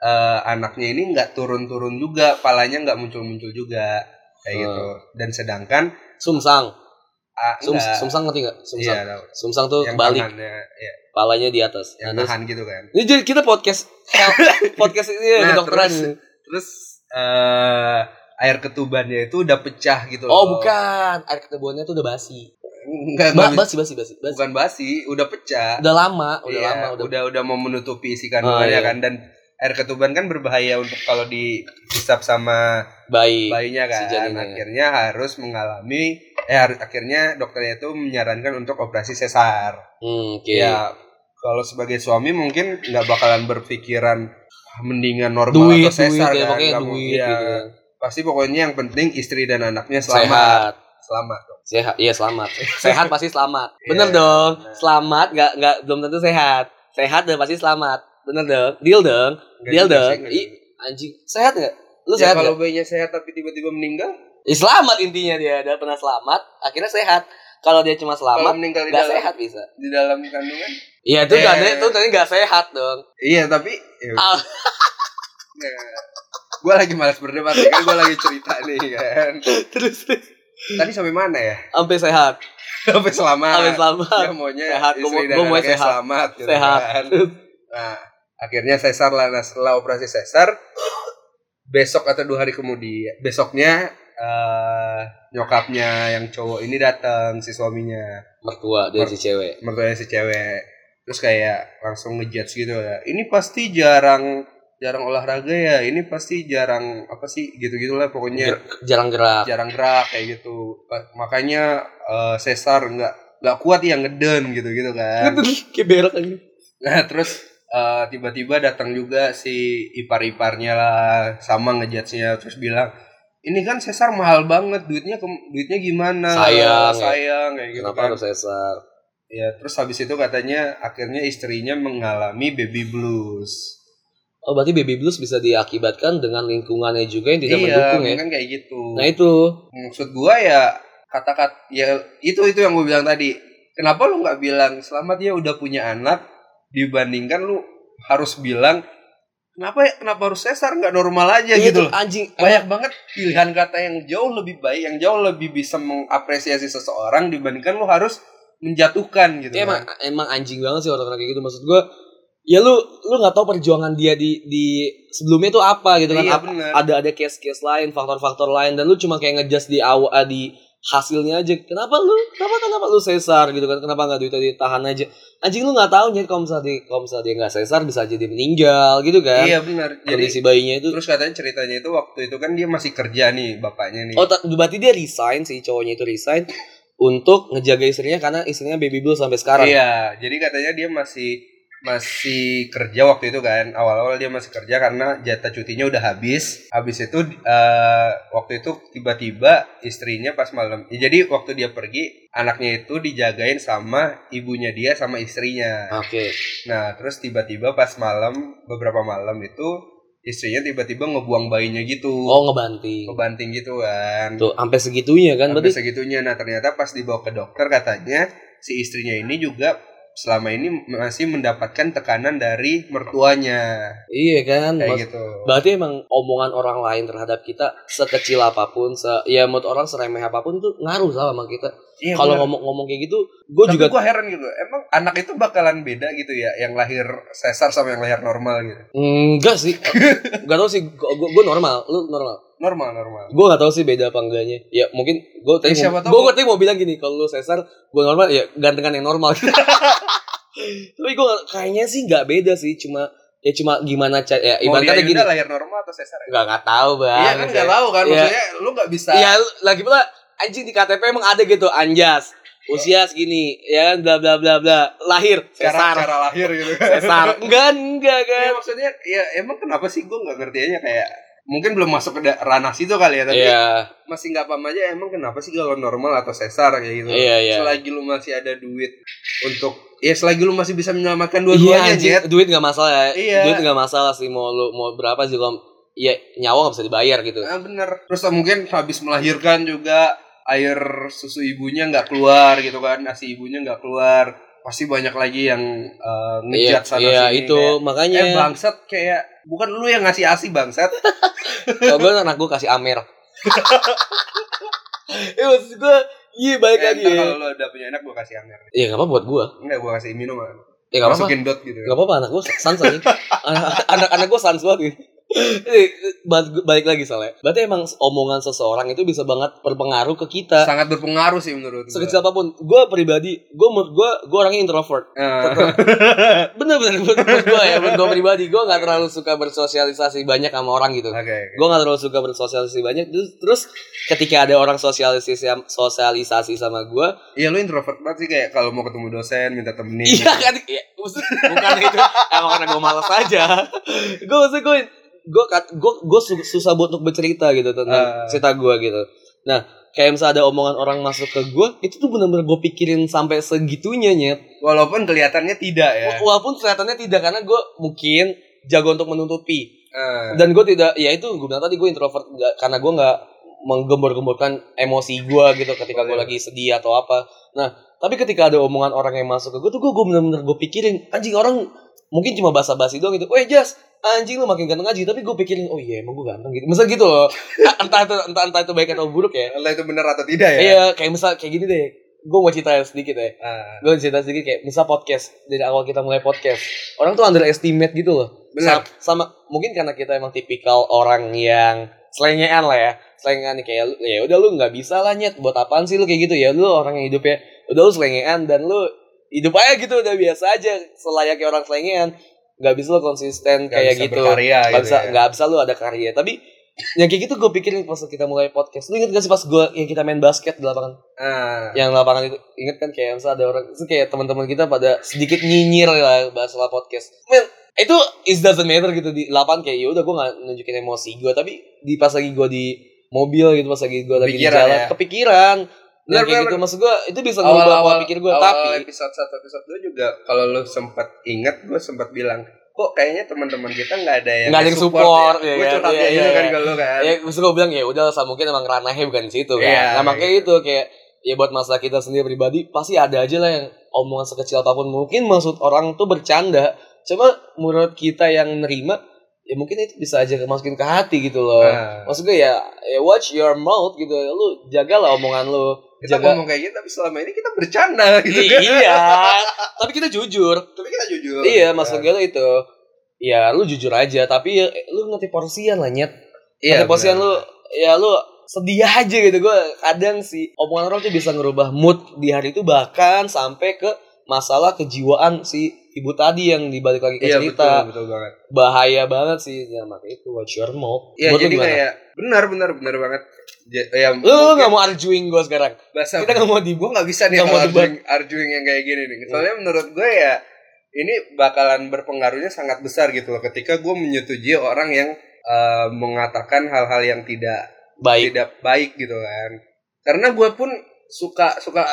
Speaker 1: eh, anaknya ini nggak turun-turun juga, palanya nggak muncul-muncul juga kayak
Speaker 2: Hmm.
Speaker 1: gitu. Dan sedangkan
Speaker 2: Sumsang.
Speaker 1: ah,
Speaker 2: Sum,
Speaker 1: nggak.
Speaker 2: sumsang ngerti nggak? Sumsang.
Speaker 1: Iya, tahu.
Speaker 2: Sumsang tuh
Speaker 1: yang
Speaker 2: balik,
Speaker 1: tangannya, ya,
Speaker 2: palanya di atas.
Speaker 1: yang
Speaker 2: Nah, terus-
Speaker 1: nahan gitu kan.
Speaker 2: ini jadi kita podcast podcast ini ya,
Speaker 1: Nah,
Speaker 2: kedokteran.
Speaker 1: terus- Terus eh air ketubannya itu udah pecah gitu
Speaker 2: Oh, bukan. Air ketebuannya tuh udah basi.
Speaker 1: Enggak,
Speaker 2: Ba- basi basi basi basi.
Speaker 1: bukan basi, udah pecah.
Speaker 2: Udah lama, udah
Speaker 1: Iya,
Speaker 2: lama, udah.
Speaker 1: udah mau menutupi isi
Speaker 2: Oh,
Speaker 1: kandungannya
Speaker 2: iya.
Speaker 1: kan dan air ketuban kan berbahaya untuk kalau dihisap sama
Speaker 2: Baik.
Speaker 1: bayinya
Speaker 2: si
Speaker 1: kan.
Speaker 2: janinnya. iya.
Speaker 1: akhirnya harus mengalami eh har- akhirnya dokternya itu menyarankan untuk operasi sesar.
Speaker 2: Hmm, oke.
Speaker 1: Ya, kalau sebagai suami mungkin nggak bakalan berpikiran "Ah, mendingan normal
Speaker 2: Duit,
Speaker 1: atau
Speaker 2: duit,
Speaker 1: sesar
Speaker 2: ya,
Speaker 1: kan.
Speaker 2: pokoknya
Speaker 1: Nggak mau-
Speaker 2: duit
Speaker 1: iya.
Speaker 2: gitu. ya.
Speaker 1: Pasti pokoknya yang penting istri dan anaknya selamat.
Speaker 2: Sehat.
Speaker 1: Selamat.
Speaker 2: Sehat, iya selamat. Sehat pasti selamat.
Speaker 1: Iya,
Speaker 2: Bener dong.
Speaker 1: bener.
Speaker 2: Selamat nggak nggak belum tentu sehat. Sehat dan pasti selamat. Bener dong. Deal dong.
Speaker 1: Nggak
Speaker 2: Deal
Speaker 1: juga sih,
Speaker 2: dong.
Speaker 1: nggak
Speaker 2: Ih,
Speaker 1: juga.
Speaker 2: anjing. Sehat nggak? Lu
Speaker 1: Ya,
Speaker 2: sehat
Speaker 1: kalau
Speaker 2: nggak?
Speaker 1: bayinya sehat tapi tiba-tiba meninggal,
Speaker 2: Ih, selamat intinya dia. Dia pernah selamat, akhirnya sehat. Kalau dia cuma
Speaker 1: kalau
Speaker 2: selamat,
Speaker 1: meninggal di
Speaker 2: nggak
Speaker 1: dalam
Speaker 2: sehat bisa.
Speaker 1: di dalam kandungan?
Speaker 2: Iya itu
Speaker 1: Eh.
Speaker 2: nggak ada- itu tadi nggak sehat dong.
Speaker 1: Iya, tapi ya,
Speaker 2: Ah.
Speaker 1: gue lagi malas berdebat ya kan gue lagi cerita nih kan.
Speaker 2: Terus terus.
Speaker 1: Tadi sampai mana ya?
Speaker 2: sampai sehat,
Speaker 1: Sampai selamat.
Speaker 2: sampai selamat,
Speaker 1: Ya, maunya
Speaker 2: Iya, Sehat, gua
Speaker 1: istri
Speaker 2: mau-
Speaker 1: dan
Speaker 2: gua mau
Speaker 1: anaknya
Speaker 2: sehat.
Speaker 1: selamat gitu
Speaker 2: sehat.
Speaker 1: kan. Nah, akhirnya sesar lah. Nah, setelah operasi sesar, besok atau dua hari kemudian, besoknya eh, nyokapnya yang cowok ini datang si suaminya,
Speaker 2: Mertua dia si cewek.
Speaker 1: mertuanya si cewek. Terus kayak langsung ngejudge gitu ya. Ini pasti jarang jarang olahraga ya. Ini pasti jarang apa sih gitu-gitulah pokoknya
Speaker 2: Ger- jarang gerak.
Speaker 1: jarang gerak kayak gitu. Eh, Makanya eh, sesar nggak nggak kuat ya ngeden gitu-gitu kan.
Speaker 2: Kayak berak aja.
Speaker 1: Nah terus eh, tiba-tiba datang juga si ipar-iparnya lah sama ngejudge-nya terus bilang ini kan sesar mahal banget duitnya ke- duitnya gimana
Speaker 2: Sayang, ya.
Speaker 1: sayang kayak gitu
Speaker 2: Kenapa
Speaker 1: kan
Speaker 2: harus sesar?
Speaker 1: ya terus habis itu katanya akhirnya istrinya mengalami baby blues
Speaker 2: Oh berarti baby blues bisa diakibatkan dengan lingkungannya juga yang tidak
Speaker 1: iya
Speaker 2: mendukung ya.
Speaker 1: mungkin kayak gitu
Speaker 2: Nah itu
Speaker 1: maksud gua ya kata-kata ya itu itu yang gua bilang tadi kenapa lu nggak bilang selamat ya udah punya anak dibandingkan lu harus bilang kenapa ya kenapa harus sesar nggak normal aja
Speaker 2: Iya,
Speaker 1: gitu
Speaker 2: tuh,
Speaker 1: loh
Speaker 2: anjing.
Speaker 1: banyak banget pilihan kata yang jauh lebih baik yang jauh lebih bisa mengapresiasi seseorang dibandingkan lu harus menjatuhkan gitu
Speaker 2: Emang, emang
Speaker 1: kan.
Speaker 2: emang anjing banget sih orang-orang kayak gitu maksud gua. Ya lu lu nggak tahu perjuangan dia di di sebelumnya itu apa gitu kan.
Speaker 1: iya
Speaker 2: Apa-
Speaker 1: bener
Speaker 2: ada ada case-case lain, faktor-faktor lain dan lu cuma kayak ngejudge di awal ah, di hasilnya aja. Kenapa lu? Kenapa kenapa lu sesar gitu kan? Kenapa nggak duitnya ditahan aja? Anjing lu nggak tahu jadi kalau misalnya dia- kalau misalnya dia nggak sesar bisa jadi meninggal gitu kan.
Speaker 1: iya bener jadi
Speaker 2: Kondisi bayinya itu
Speaker 1: terus katanya ceritanya itu waktu itu kan dia masih kerja nih bapaknya nih
Speaker 2: Oh, ta- berarti dia resign si cowoknya itu resign untuk ngejaga istrinya karena istrinya baby blues sampai sekarang.
Speaker 1: Iya, jadi katanya dia masih masih kerja waktu itu kan. Awal-awal dia masih kerja karena jatah cutinya udah habis. Habis itu eh, waktu itu tiba-tiba istrinya pas malam. Ya, jadi waktu dia pergi, anaknya itu dijagain sama ibunya dia sama istrinya.
Speaker 2: Oke.
Speaker 1: Nah, terus tiba-tiba pas malam beberapa malam itu istrinya tiba-tiba ngebuang bayinya gitu
Speaker 2: Oh ngebanting.
Speaker 1: ngebanting gitu kan
Speaker 2: Tuh sampai segitunya kan
Speaker 1: Sampai
Speaker 2: berarti.
Speaker 1: segitunya nah ternyata pas dibawa ke dokter katanya si istrinya ini juga selama ini masih mendapatkan tekanan dari mertuanya
Speaker 2: Iya kan.
Speaker 1: kayak
Speaker 2: Mas-
Speaker 1: gitu
Speaker 2: Berarti emang omongan orang lain terhadap kita sekecil apapun, se ya menurut orang seremeh apapun tuh ngaruh sama sama kita.
Speaker 1: Iya,
Speaker 2: Kalau
Speaker 1: bener.
Speaker 2: ngomong-ngomong kayak gitu, gue
Speaker 1: tapi
Speaker 2: juga
Speaker 1: gue heran gitu emang anak itu bakalan beda gitu ya yang lahir sesar sama yang lahir normal gitu
Speaker 2: enggak sih. Enggak tau sih. Gue normal, lu normal.
Speaker 1: normal normal
Speaker 2: Gue nggak tahu sih beda apa enggaknya. Ya mungkin gue tadi
Speaker 1: Ya, siapa
Speaker 2: mau,
Speaker 1: tahu
Speaker 2: gue
Speaker 1: gua-
Speaker 2: tadi mau bilang gini, kalau lu sesar, gue normal, ya gantengan yang normal. Tapi gue kayaknya sih nggak beda sih, cuma ya cuma gimana cara ya
Speaker 1: mau
Speaker 2: ibarat kata gini.
Speaker 1: dia lahir normal atau sesar
Speaker 2: Enggak nggak tahu bang.
Speaker 1: Oh, Nah, Iya kan nggak tahu kan
Speaker 2: Iya.
Speaker 1: maksudnya lu nggak bisa.
Speaker 2: Iya, lagi pula anjing di KTP emang ada gitu anjas. Usia segini, ya kan bla bla bla bla. Lahir
Speaker 1: cara
Speaker 2: sesar.
Speaker 1: cara lahir gitu kan.
Speaker 2: Sesar. Enggak, enggak
Speaker 1: Iya,
Speaker 2: kan.
Speaker 1: maksudnya ya emang kenapa sih gue nggak ngerti aja kayak mungkin belum masuk ke da- ranah situ kali ya tapi
Speaker 2: Iya,
Speaker 1: masih nggak paham aja emang kenapa sih kalau normal atau sesar kayak gitu.
Speaker 2: iya, iya.
Speaker 1: Selagi lu masih ada duit untuk ya selagi lu masih bisa menyelamatkan
Speaker 2: Iya,
Speaker 1: dua-duanya
Speaker 2: anjing,
Speaker 1: Jet.
Speaker 2: duit enggak masalah ya.
Speaker 1: Iya.
Speaker 2: Duit enggak masalah sih mau lu mau berapa sih kalau ya nyawa nggak bisa dibayar gitu.
Speaker 1: Ah, bener. Terus mungkin habis melahirkan juga air susu ibunya nggak keluar gitu kan, nasi ibunya nggak keluar. Pasti banyak lagi yang eh,
Speaker 2: Iya,
Speaker 1: ngejat sana
Speaker 2: iya
Speaker 1: sini.
Speaker 2: itu Iya.
Speaker 1: kayak,
Speaker 2: makanya
Speaker 1: Eh bangsat kayak bukan lu yang ngasih asi bangsat.
Speaker 2: kalau gue anak gue kasih Amer. Iya maksud gue, iya balik
Speaker 1: Eh,
Speaker 2: lagi.
Speaker 1: ntar
Speaker 2: ya.
Speaker 1: kalau lu udah punya anak gua kasih amer.
Speaker 2: Iya nggak apa buat gue.
Speaker 1: Enggak gua kasih minuman.
Speaker 2: Ya nggak apa-apa.
Speaker 1: Masukin dot gitu.
Speaker 2: Gak apa-apa anak gue sans aja Anak-anak gue sans banget gitu. Ini, bal- Balik lagi soalnya Berarti emang omongan seseorang itu bisa banget berpengaruh ke kita
Speaker 1: Sangat berpengaruh sih menurut gua.
Speaker 2: Sekecil apapun Gue pribadi Gue menurut gue Gue orangnya introvert
Speaker 1: Eh,
Speaker 2: Bener-bener menurut, gue ya Menurut gue pribadi Gue gak terlalu suka bersosialisasi banyak sama orang gitu
Speaker 1: Oke.
Speaker 2: Gue gak terlalu suka bersosialisasi banyak Terus, terus ketika ada orang sosialisasi sosialisasi sama gue
Speaker 1: Iya lu introvert banget sih kayak kalau mau ketemu dosen minta temenin.
Speaker 2: Iya kan, ya, maksud bukan itu, emang karena gue malas aja. Gue maksud gue, gue gue susah buat untuk bercerita gitu
Speaker 1: Ah.
Speaker 2: tentang cerita gue gitu. Nah, kayak misalnya ada omongan orang masuk ke gue, itu tuh bener-bener gue pikirin sampai segitunya nyet.
Speaker 1: Walaupun kelihatannya tidak ya.
Speaker 2: Wa- Walaupun kelihatannya tidak karena gue mungkin jago untuk menutupi.
Speaker 1: Eh,
Speaker 2: Dan gue tidak, ya itu gue bilang tadi gue introvert nggak- karena gue nggak menggembor-gemborkan emosi gue gitu ketika gue
Speaker 1: Boleh.
Speaker 2: lagi sedih atau apa. Nah, tapi ketika ada omongan orang yang masuk ke gue tuh gue gue bener-bener gue pikirin anjing orang mungkin cuma basa-basi doang gitu. Weh Jas, anjing lu makin ganteng aja. Tapi gue pikirin, oh iya emang gue ganteng gitu. Misal gitu loh. entah itu entah entah itu baik atau buruk ya.
Speaker 1: entah itu benar atau tidak ya.
Speaker 2: Iya, kayak misal kayak gini deh. Gue mau cerita sedikit ya.
Speaker 1: Eh,
Speaker 2: Gue cerita sedikit kayak misal podcast dari awal kita mulai podcast. Orang tuh underestimate gitu loh.
Speaker 1: Benar.
Speaker 2: Sama, sama mungkin karena kita emang tipikal orang yang selengean lah ya. Selengean kayak lu- ya udah lu nggak bisa lah nyet buat apaan sih lu kayak gitu ya lu orang yang hidupnya udah lu selengean dan lu hidup aja gitu udah biasa aja selayaknya orang selengean nggak bisa lu konsisten
Speaker 1: nggak
Speaker 2: kayak
Speaker 1: bisa
Speaker 2: gitu
Speaker 1: Berkarya
Speaker 2: nggak
Speaker 1: gitu
Speaker 2: bisa
Speaker 1: ya.
Speaker 2: nggak bisa lu ada karya tapi yang kayak gitu gue pikirin pas kita mulai podcast lu inget gak sih pas gue yang kita main basket di lapangan
Speaker 1: Eh,
Speaker 2: yang lapangan itu inget kan kayak misalnya ada orang itu kayak teman-teman kita pada sedikit nyinyir lah bahas soal podcast men itu is doesn't matter gitu di lapangan kayak ya udah gue nggak nunjukin emosi gue tapi di pas lagi gue di mobil gitu pas lagi gue lagi di
Speaker 1: Kepikiran
Speaker 2: jalan
Speaker 1: ya.
Speaker 2: kepikiran
Speaker 1: Bener,
Speaker 2: Dan kayak
Speaker 1: bener.
Speaker 2: gitu maksud gue itu bisa ngubah pola pikir gue
Speaker 1: awal
Speaker 2: tapi
Speaker 1: episode 1 episode 2 juga kalau lu sempat ingat gue sempat bilang kok kayaknya teman-teman kita nggak ada yang
Speaker 2: Nggak ada yang support, ya
Speaker 1: gue
Speaker 2: kan?
Speaker 1: curhat
Speaker 2: Iya,
Speaker 1: ya gitu
Speaker 2: iya,
Speaker 1: kan
Speaker 2: iya.
Speaker 1: kalau lu kan
Speaker 2: ya maksud gue bilang ya udah lah mungkin emang ranahnya bukan di situ kan
Speaker 1: Iya,
Speaker 2: nah makanya itu kayak ya buat masalah kita sendiri pribadi pasti ada aja lah yang omongan sekecil apapun mungkin maksud orang tuh bercanda cuma menurut kita yang nerima ya mungkin itu bisa aja masukin ke hati gitu loh
Speaker 1: Nah,
Speaker 2: maksud gue ya, ya watch your mouth gitu lu jagalah omongan lu
Speaker 1: kita
Speaker 2: jaga
Speaker 1: ngomong kayak gitu tapi selama ini kita bercanda gitu kan
Speaker 2: iya tapi kita jujur
Speaker 1: tapi kita jujur
Speaker 2: iya maksud gue tuh itu ya lu jujur aja tapi ya, lu ngerti porsian lah nyet Iya, posisian lu ya lu sedih aja gitu gue kadang sih omongan orang tuh bisa ngerubah mood di hari itu bahkan sampai ke masalah kejiwaan si ibu tadi yang dibalik lagi ke
Speaker 1: iya betul
Speaker 2: cerita
Speaker 1: betul banget
Speaker 2: bahaya banget sih ya makanya itu watch your mouth
Speaker 1: iya
Speaker 2: Buat lu
Speaker 1: jadi
Speaker 2: gimana?
Speaker 1: kayak benar benar benar banget Ja- ya
Speaker 2: lu lu nggak mau arguing gue sekarang
Speaker 1: bahasa
Speaker 2: kita nggak mau di
Speaker 1: gue nggak bisa nih
Speaker 2: Nggak
Speaker 1: kalau
Speaker 2: mau debat. Iya.
Speaker 1: arguing, arguing yang kayak gini nih. Soalnya menurut gue ya ini bakalan berpengaruhnya sangat besar gitu loh ketika gue menyetujui orang yang eh, mengatakan hal-hal yang tidak
Speaker 2: baik
Speaker 1: tidak baik gitu kan. Karena gue pun suka suka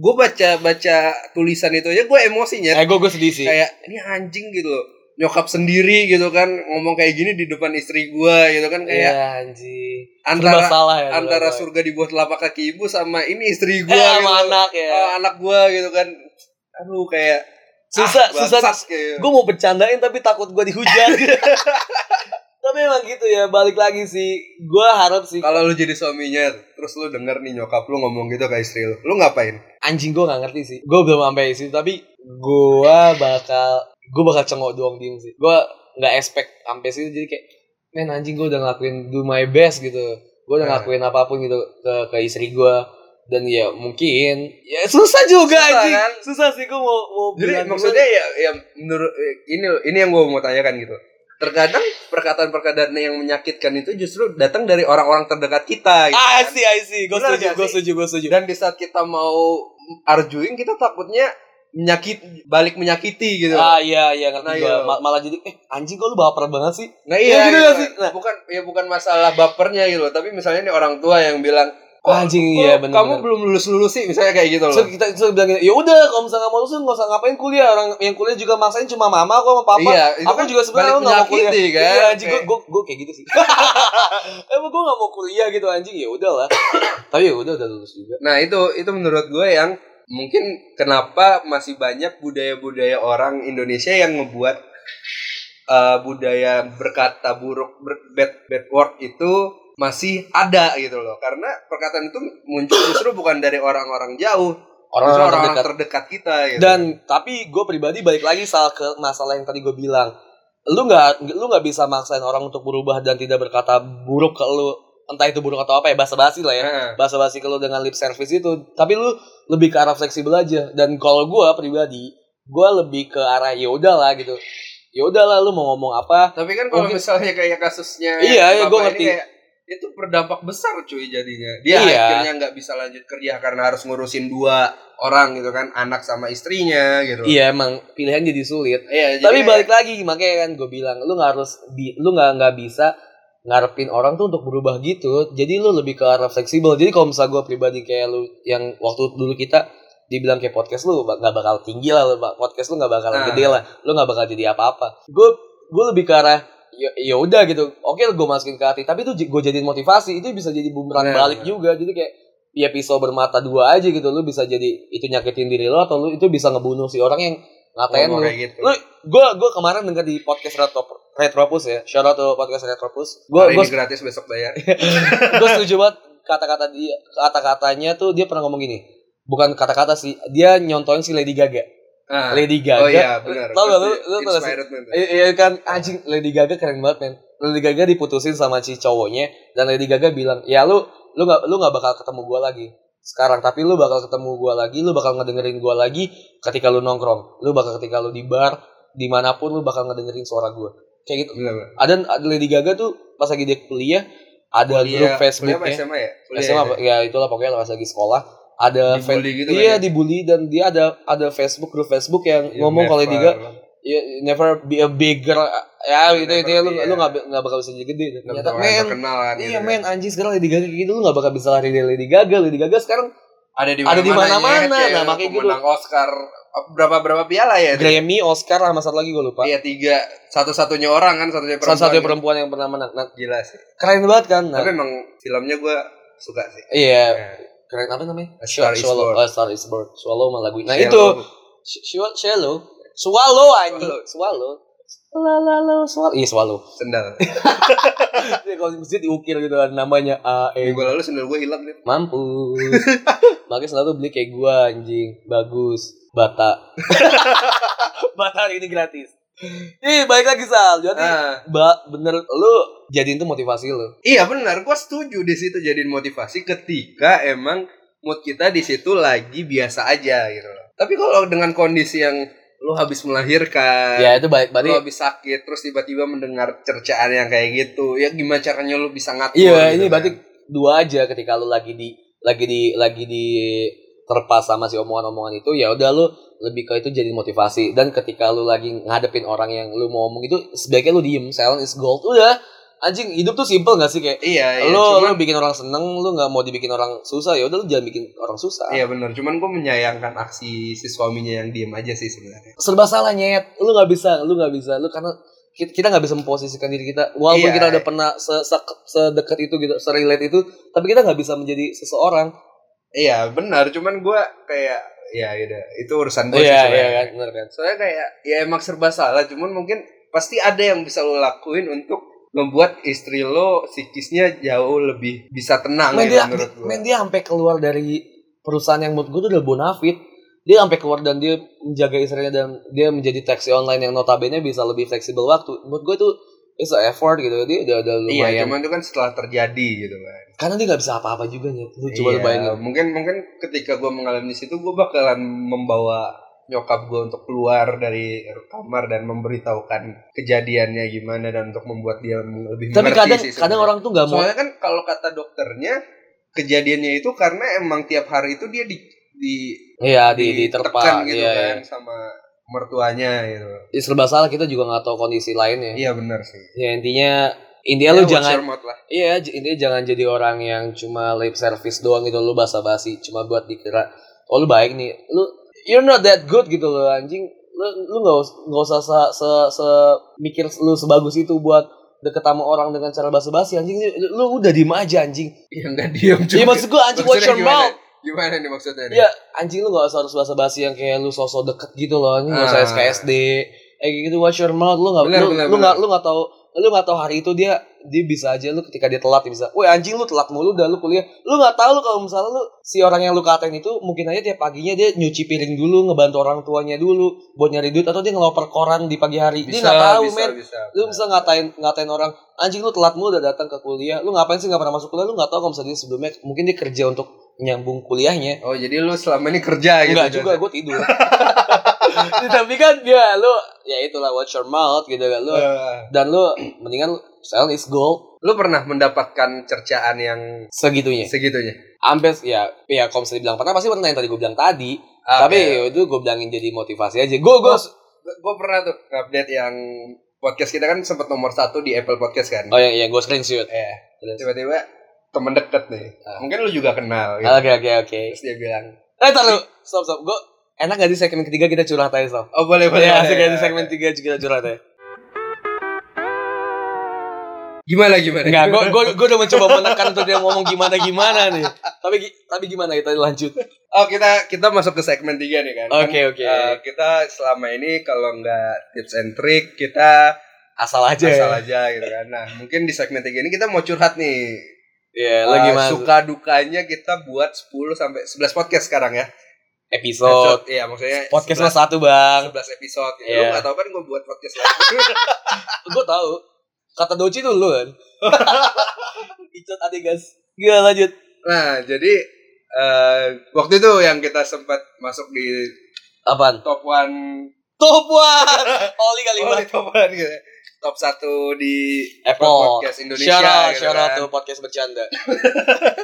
Speaker 1: gue baca baca tulisan itu aja gue emosinya
Speaker 2: eh gue gue sedih sih
Speaker 1: kayak ini anjing gitu loh. nyokap sendiri gitu kan ngomong kayak gini di depan istri gua gitu kan
Speaker 2: Iya,
Speaker 1: kayak
Speaker 2: anjing. Iya. Serba
Speaker 1: antara
Speaker 2: salah ya.
Speaker 1: antara
Speaker 2: serba.
Speaker 1: surga dibuat telapak kaki ibu sama ini istri
Speaker 2: eh,
Speaker 1: gua
Speaker 2: sama
Speaker 1: gitu.
Speaker 2: anak ya.
Speaker 1: Ah, anak gua gitu kan. Aduh kayak ah,
Speaker 2: susah, susah.
Speaker 1: bangsat kayak.
Speaker 2: Gue mau bercandain tapi takut gue dihujat. tapi emang gitu ya, balik lagi sih. Gue harap sih
Speaker 1: Kalau lu jadi suaminya terus lu denger nih nyokap lu ngomong gitu ke istri lu, lu ngapain?
Speaker 2: anjing gue nggak ngerti sih gue belum sampai sih tapi gue bakal gue bakal cengok doang diem sih gue nggak expect sampai situ jadi kayak men anjing gue udah ngelakuin do my best gitu gue udah
Speaker 1: Eh.
Speaker 2: ngelakuin apapun gitu ke, ke istri gue dan ya mungkin ya susah juga
Speaker 1: Susah,
Speaker 2: anjing
Speaker 1: kan?
Speaker 2: susah sih gue mau mau
Speaker 1: Jadi
Speaker 2: bilang
Speaker 1: maksudnya ya, ya menurut eh, ini ini yang gue mau tanyakan gitu. Terkadang perkataan-perkataan yang menyakitkan itu justru datang dari orang-orang terdekat kita.
Speaker 2: gimana.
Speaker 1: Gitu kan.
Speaker 2: ah I see I see gue
Speaker 1: Benar
Speaker 2: setuju
Speaker 1: nggak
Speaker 2: gue
Speaker 1: sih?
Speaker 2: setuju gue setuju
Speaker 1: Dan di saat kita mau arguing kita takutnya menyakit balik menyakiti gitu.
Speaker 2: ah iya iya ngerti
Speaker 1: Nah,
Speaker 2: gue
Speaker 1: iya.
Speaker 2: malah jadi eh anjing gue lu baper banget sih
Speaker 1: nah
Speaker 2: iya,
Speaker 1: iya
Speaker 2: gitu
Speaker 1: gitu
Speaker 2: nggak sih? Nah.
Speaker 1: Bukan ya bukan masalah bapernya gitu loh, tapi misalnya nih orang tua yang bilang "Kok-
Speaker 2: Anjing,
Speaker 1: kok
Speaker 2: iya, bener,
Speaker 1: Kamu
Speaker 2: bener.
Speaker 1: belum lulus lulus sih misalnya kayak gitu loh.
Speaker 2: So kita so bilang ya udah kalau misalnya nggak mau lulus nggak usah ngapain kuliah orang yang kuliah juga maksain cuma mama aku sama papa.
Speaker 1: Iya, itu
Speaker 2: aku
Speaker 1: kan
Speaker 2: juga sebenarnya
Speaker 1: balik
Speaker 2: nggak mau kuliah.
Speaker 1: menyakiti, kan?
Speaker 2: Iya anjing gue
Speaker 1: Kayak-
Speaker 2: gue gue kayak gitu sih. Emang gue nggak mau kuliah gitu anjing ya udahlah. Tapi ya udah udah lulus juga.
Speaker 1: Nah itu itu menurut gue yang mungkin kenapa masih banyak budaya-budaya orang Indonesia yang ngebuat eh, budaya berkata buruk ber- bad bad word itu masih ada gitu loh karena perkataan itu muncul justru bukan dari orang-orang jauh justru
Speaker 2: Orang-orang
Speaker 1: orang-orang
Speaker 2: terdekat.
Speaker 1: terdekat kita gitu.
Speaker 2: Dan tapi gue pribadi balik lagi soal ke masalah yang tadi gue bilang. Lu nggak lu nggak bisa maksain orang untuk berubah dan tidak berkata buruk ke lu entah itu buruk atau apa ya bahasa basi lah ya.
Speaker 1: Nah,
Speaker 2: basa-basi ke lu dengan lip service itu tapi lu lebih ke arah fleksibel aja dan kalau gua pribadi gua lebih ke arah ya udahlah gitu ya udahlah lu mau ngomong apa
Speaker 1: tapi kan kalau
Speaker 2: Mungkin-
Speaker 1: misalnya kayak kasusnya
Speaker 2: Iya,
Speaker 1: Bapak
Speaker 2: iya, gue
Speaker 1: ini
Speaker 2: ngerti.
Speaker 1: kayak, itu berdampak besar cuy jadinya dia
Speaker 2: Iya.
Speaker 1: akhirnya nggak bisa lanjut kerja karena harus ngurusin dua orang gitu kan anak sama istrinya gitu
Speaker 2: iya emang pilihan jadi sulit
Speaker 1: Iya,
Speaker 2: tapi
Speaker 1: jadi
Speaker 2: balik lagi makanya kan gua bilang lu nggak harus bi- lu nggak nggak bisa ngarepin orang tuh untuk berubah gitu jadi lu lebih ke arah fleksibel jadi kalau misalnya gua pribadi kayak lu yang waktu dulu kita dibilang kayak podcast lu bak- nggak bakal tinggi lah lu bak- podcast lu nggak bakal
Speaker 1: Ah.
Speaker 2: gede lah lu nggak bakal jadi apa-apa gue gue lebih ke arah ya ya udah gitu oke gue masukin ke hati tapi itu gue jadiin motivasi itu bisa jadi bumerang
Speaker 1: Bener,
Speaker 2: balik
Speaker 1: bener.
Speaker 2: juga jadi kayak ya pisau bermata dua aja gitu lu bisa jadi itu nyakitin diri lo atau lu itu bisa ngebunuh si orang yang ngatain
Speaker 1: ngomong
Speaker 2: lu
Speaker 1: kayak gitu.
Speaker 2: lu gue gue kemarin denger di podcast Retro, Retropus ya shout out to podcast Retropus gue
Speaker 1: Hari
Speaker 2: gue
Speaker 1: ini gratis besok bayar.
Speaker 2: gue setuju banget kata-kata dia kata-katanya tuh dia pernah ngomong gini bukan kata-kata sih dia nyontohin si Lady Gaga
Speaker 1: Ah.
Speaker 2: Lady
Speaker 1: Oh
Speaker 2: Gaga
Speaker 1: iya, benar.
Speaker 2: tau gak lu
Speaker 1: Pasti
Speaker 2: lu tau gak sih
Speaker 1: inspired banget.
Speaker 2: I- Iya kan anjing Lady Gaga keren banget men. Lady Gaga diputusin sama si cowoknya dan Lady Gaga bilang, "Ya lu lu nggak lu nggak bakal ketemu gua lagi sekarang, tapi lu bakal ketemu gua lagi, lu bakal ngedengerin gua lagi ketika lu nongkrong. Lu bakal ketika lu di bar, dimanapun lu bakal ngedengerin suara gua." Kayak gitu.
Speaker 1: Benar, benar.
Speaker 2: Ada, ada Lady Gaga tuh pas lagi dia kuliah
Speaker 1: Kuliah-
Speaker 2: ada grup
Speaker 1: kuliah
Speaker 2: Facebook
Speaker 1: apa SMA ya? Kuliah
Speaker 2: SMA
Speaker 1: ya?
Speaker 2: apa- ya itulah pokoknya pas lagi sekolah ada fa-
Speaker 1: Dibully gitu kan
Speaker 2: Iya, dia
Speaker 1: ya? Iya,
Speaker 2: dibully dan dia ada ada Facebook grup Facebook yang
Speaker 1: You
Speaker 2: ngomong kalau Lady
Speaker 1: never-
Speaker 2: Gaga ya never be a bigger ya gitu
Speaker 1: Never
Speaker 2: itu ya, lu
Speaker 1: be a-
Speaker 2: lu nggak nggak bakal bisa jadi gede gitu.
Speaker 1: never
Speaker 2: ternyata
Speaker 1: bakalan
Speaker 2: men
Speaker 1: terkenal kan gitu
Speaker 2: iya
Speaker 1: kan.
Speaker 2: men anjing sekarang Lady Gaga kayak gitu lu nggak bakal bisa lari dari Lady Gaga Lady Gaga sekarang
Speaker 1: Ada di
Speaker 2: Ada di
Speaker 1: mana-mana.
Speaker 2: mana-mana.
Speaker 1: ya,
Speaker 2: Nah, makanya gitu.
Speaker 1: pemenang Oscar berapa berapa piala ya? itu?
Speaker 2: Grammy Oscar sama satu lagi gue lupa
Speaker 1: Iya tiga satu-satunya orang kan satunya perempuan.
Speaker 2: salah satu perempuan yang pernah menang nah,
Speaker 1: Gila sih.
Speaker 2: keren banget kan nah,
Speaker 1: Tapi emang filmnya gue suka sih.
Speaker 2: iya
Speaker 1: Nah,
Speaker 2: keren apa namanya
Speaker 1: A Star is
Speaker 2: Swallow
Speaker 1: Born.
Speaker 2: oh, Star is Born Swallow sama lagu nah
Speaker 1: Shallow.
Speaker 2: itu Sh- Sh- Shallow Swallow anjing
Speaker 1: Swallow.
Speaker 2: Swallow Swallow Swallow iya Swallow
Speaker 1: sendal.
Speaker 2: kalau di masjid diukir gitu kan namanya A E
Speaker 1: Minggu lalu sendal gue hilang nih.
Speaker 2: Mampus. Makanya selalu beli kayak gua anjing. Bagus. Bata. Bata hari ini gratis. Ih, balik lagi Sal. Jadi
Speaker 1: Ah.
Speaker 2: ba- bener lu jadiin tuh motivasi lu.
Speaker 1: Iya benar, gua setuju di situ jadiin motivasi ketika emang mood kita di situ lagi biasa aja gitu loh. Tapi kalau dengan kondisi yang lu habis melahirkan,
Speaker 2: Ya itu balik
Speaker 1: lu
Speaker 2: balik.
Speaker 1: habis sakit, terus tiba-tiba mendengar cercaan yang kayak gitu, ya gimana caranya lu bisa ngatur?
Speaker 2: Iya,
Speaker 1: gitu
Speaker 2: ini
Speaker 1: kan?
Speaker 2: berarti dua aja ketika lu lagi di lagi di lagi di terpas sama si omongan-omongan itu ya udah lu lebih ke itu jadi motivasi dan ketika lu lagi ngadepin orang yang lu mau omong itu sebaiknya lu diem silent is gold udah anjing hidup tuh simple gak sih kayak
Speaker 1: iya iya
Speaker 2: lo
Speaker 1: cuman
Speaker 2: lo bikin orang seneng lu nggak mau dibikin orang susah ya udah lu jangan bikin orang susah
Speaker 1: iya benar cuman gue menyayangkan aksi si suaminya yang diem aja sih sebenarnya
Speaker 2: serba salah nyet lu nggak bisa lu nggak bisa lu karena ki- kita nggak bisa memposisikan diri kita walaupun
Speaker 1: Iya.
Speaker 2: kita udah pernah se- se- sedekat itu gitu serelate itu tapi kita nggak bisa menjadi seseorang
Speaker 1: iya benar cuman gue kayak ya udah itu urusan gue
Speaker 2: iya iya kan benar kan
Speaker 1: soalnya kayak ya emang serba salah cuman mungkin pasti ada yang bisa lo lakuin untuk membuat istri lo psikisnya jauh lebih bisa tenang
Speaker 2: men
Speaker 1: gitu
Speaker 2: dia
Speaker 1: menurut gue
Speaker 2: men dia sampai keluar dari perusahaan yang menurut gue tuh udah bonafit dia sampai keluar dan dia menjaga istrinya dan dia menjadi taksi online yang notabene bisa lebih fleksibel waktu menurut gue itu it's a effort gitu dia udah udah lumayan
Speaker 1: iya cuman itu kan setelah terjadi gitu kan
Speaker 2: karena dia nggak bisa apa-apa juga nyet lu coba
Speaker 1: Iya,
Speaker 2: lu bayangin
Speaker 1: mungkin mungkin ketika gue mengalami di situ gue bakalan membawa nyokap gue untuk keluar dari kamar dan memberitahukan kejadiannya gimana dan untuk membuat dia lebih
Speaker 2: tapi
Speaker 1: mengerti
Speaker 2: kadang
Speaker 1: sih sebenarnya.
Speaker 2: kadang orang tuh nggak mau
Speaker 1: Soalnya kan kalau kata dokternya kejadiannya itu karena emang tiap hari itu dia di di
Speaker 2: Iya di
Speaker 1: ditekan
Speaker 2: diterpa
Speaker 1: gitu
Speaker 2: iya,
Speaker 1: kan
Speaker 2: iya.
Speaker 1: sama mertuanya gitu.
Speaker 2: Ya, serba salah kita juga nggak tahu kondisi lainnya.
Speaker 1: Iya benar sih.
Speaker 2: Ya intinya intinya
Speaker 1: Ya,
Speaker 2: lu
Speaker 1: what's
Speaker 2: jangan
Speaker 1: your mouth lah.
Speaker 2: iya j- intinya jangan jadi orang yang cuma lip service doang gitu lu basa-basi cuma buat dikira oh lu baik nih lu you're not that good gitu loh anjing lu lu nggak us- nggak usah se, se, se- mikir lu sebagus itu buat deket sama orang dengan cara basa-basi anjing lu, lu udah diem aja anjing
Speaker 1: Ya enggak diam juga.
Speaker 2: Iya maksud gua anjing watch
Speaker 1: Maksudnya
Speaker 2: your
Speaker 1: gimana?
Speaker 2: mouth
Speaker 1: Gimana nih maksudnya nih?
Speaker 2: Iya, anjing lu gak usah harus basa-basi yang kayak lu sosok deket gitu loh, anjing gak usah
Speaker 1: Ah.
Speaker 2: SKSD. Eh kayak gitu watch your mouth lu gak
Speaker 1: Benar,
Speaker 2: lu,
Speaker 1: benar,
Speaker 2: lu
Speaker 1: benar.
Speaker 2: gak lu gak tahu lu gak tahu hari itu dia dia bisa aja lu ketika dia telat dia bisa. Woi anjing lu telat mulu dah lu kuliah. Lu gak tahu lu kalau misalnya lu si orang yang lu katain itu mungkin aja tiap paginya dia nyuci piring dulu, ngebantu orang tuanya dulu buat nyari duit atau dia ngeloper koran di pagi hari. dia gak tahu, men.
Speaker 1: bisa.
Speaker 2: Lu bisa ngatain ngatain orang anjing lu telat mulu udah datang ke kuliah. Lu ngapain sih gak pernah masuk kuliah? Lu gak tahu kalau misalnya dia sebelumnya mungkin dia kerja untuk nyambung kuliahnya.
Speaker 1: Oh, jadi lu selama ini kerja gitu.
Speaker 2: Enggak juga, gue tidur. Tapi kan dia lu ya itulah watch your mouth gitu kan lu.
Speaker 1: Eh,
Speaker 2: Dan lu mendingan silent is gold
Speaker 1: lu pernah mendapatkan cercaan yang
Speaker 2: segitunya.
Speaker 1: segitunya?
Speaker 2: Ampe ya ya kalau misalnya bilang pernah pasti pernah yang tadi gue bilang tadi. Tapi
Speaker 1: Ah,
Speaker 2: ya itu gue bilangin jadi motivasi aja. Gue gue
Speaker 1: gue pernah tuh update yang podcast kita kan sempat nomor satu di Apple Podcast kan.
Speaker 2: Oh iya, iya gue screenshot.
Speaker 1: Eh, tiba-tiba temen deket nih.
Speaker 2: Ah.
Speaker 1: Mungkin lu juga kenal gitu.
Speaker 2: Oke oke oke.
Speaker 1: Terus dia bilang,
Speaker 2: Eh tar lu, stop stop. Gue enak gak di segmen ketiga kita curhat aja stop.
Speaker 1: "Oh, boleh, boleh."
Speaker 2: Ya,
Speaker 1: boleh,
Speaker 2: asik ya,
Speaker 1: ya.
Speaker 2: di segmen tiga kita curhat aja.
Speaker 1: Gimana gimana?
Speaker 2: Enggak, gue gue gue udah mencoba menekan untuk dia ngomong gimana gimana nih. Tapi gi- tapi gimana kita lanjut?
Speaker 1: Oh, kita kita masuk ke segmen tiga nih kan.
Speaker 2: Oke,
Speaker 1: Kan,
Speaker 2: oke.
Speaker 1: eh, kita selama ini kalau nggak tips and trick, kita
Speaker 2: Asal aja. ya.
Speaker 1: asal aja gitu kan. Nah, mungkin di segmen tiga ini kita mau curhat nih. Eh,
Speaker 2: Iya, lo gimana?
Speaker 1: suka dukanya kita buat 10 sampai 11 podcast sekarang ya.
Speaker 2: episode.
Speaker 1: Iya, maksudnya
Speaker 2: Podcast
Speaker 1: 11,
Speaker 2: lo satu bang.
Speaker 1: 11 episode. Gitu.
Speaker 2: Iya.
Speaker 1: Lu gak tau kan gue buat podcast lagi.
Speaker 2: Gue tahu. Kata Doci tuh lu kan. Icut adik guys. Gila lanjut.
Speaker 1: nah, jadi eh waktu itu yang kita sempat masuk di
Speaker 2: Apaan?
Speaker 1: top one
Speaker 2: Top one. Oli kali
Speaker 1: oh,
Speaker 2: Bang.
Speaker 1: di top one gitu. ya. Top satu di
Speaker 2: Apple.
Speaker 1: podcast Indonesia
Speaker 2: Shout out,
Speaker 1: gitu
Speaker 2: shout out
Speaker 1: kan.
Speaker 2: to podcast bercanda.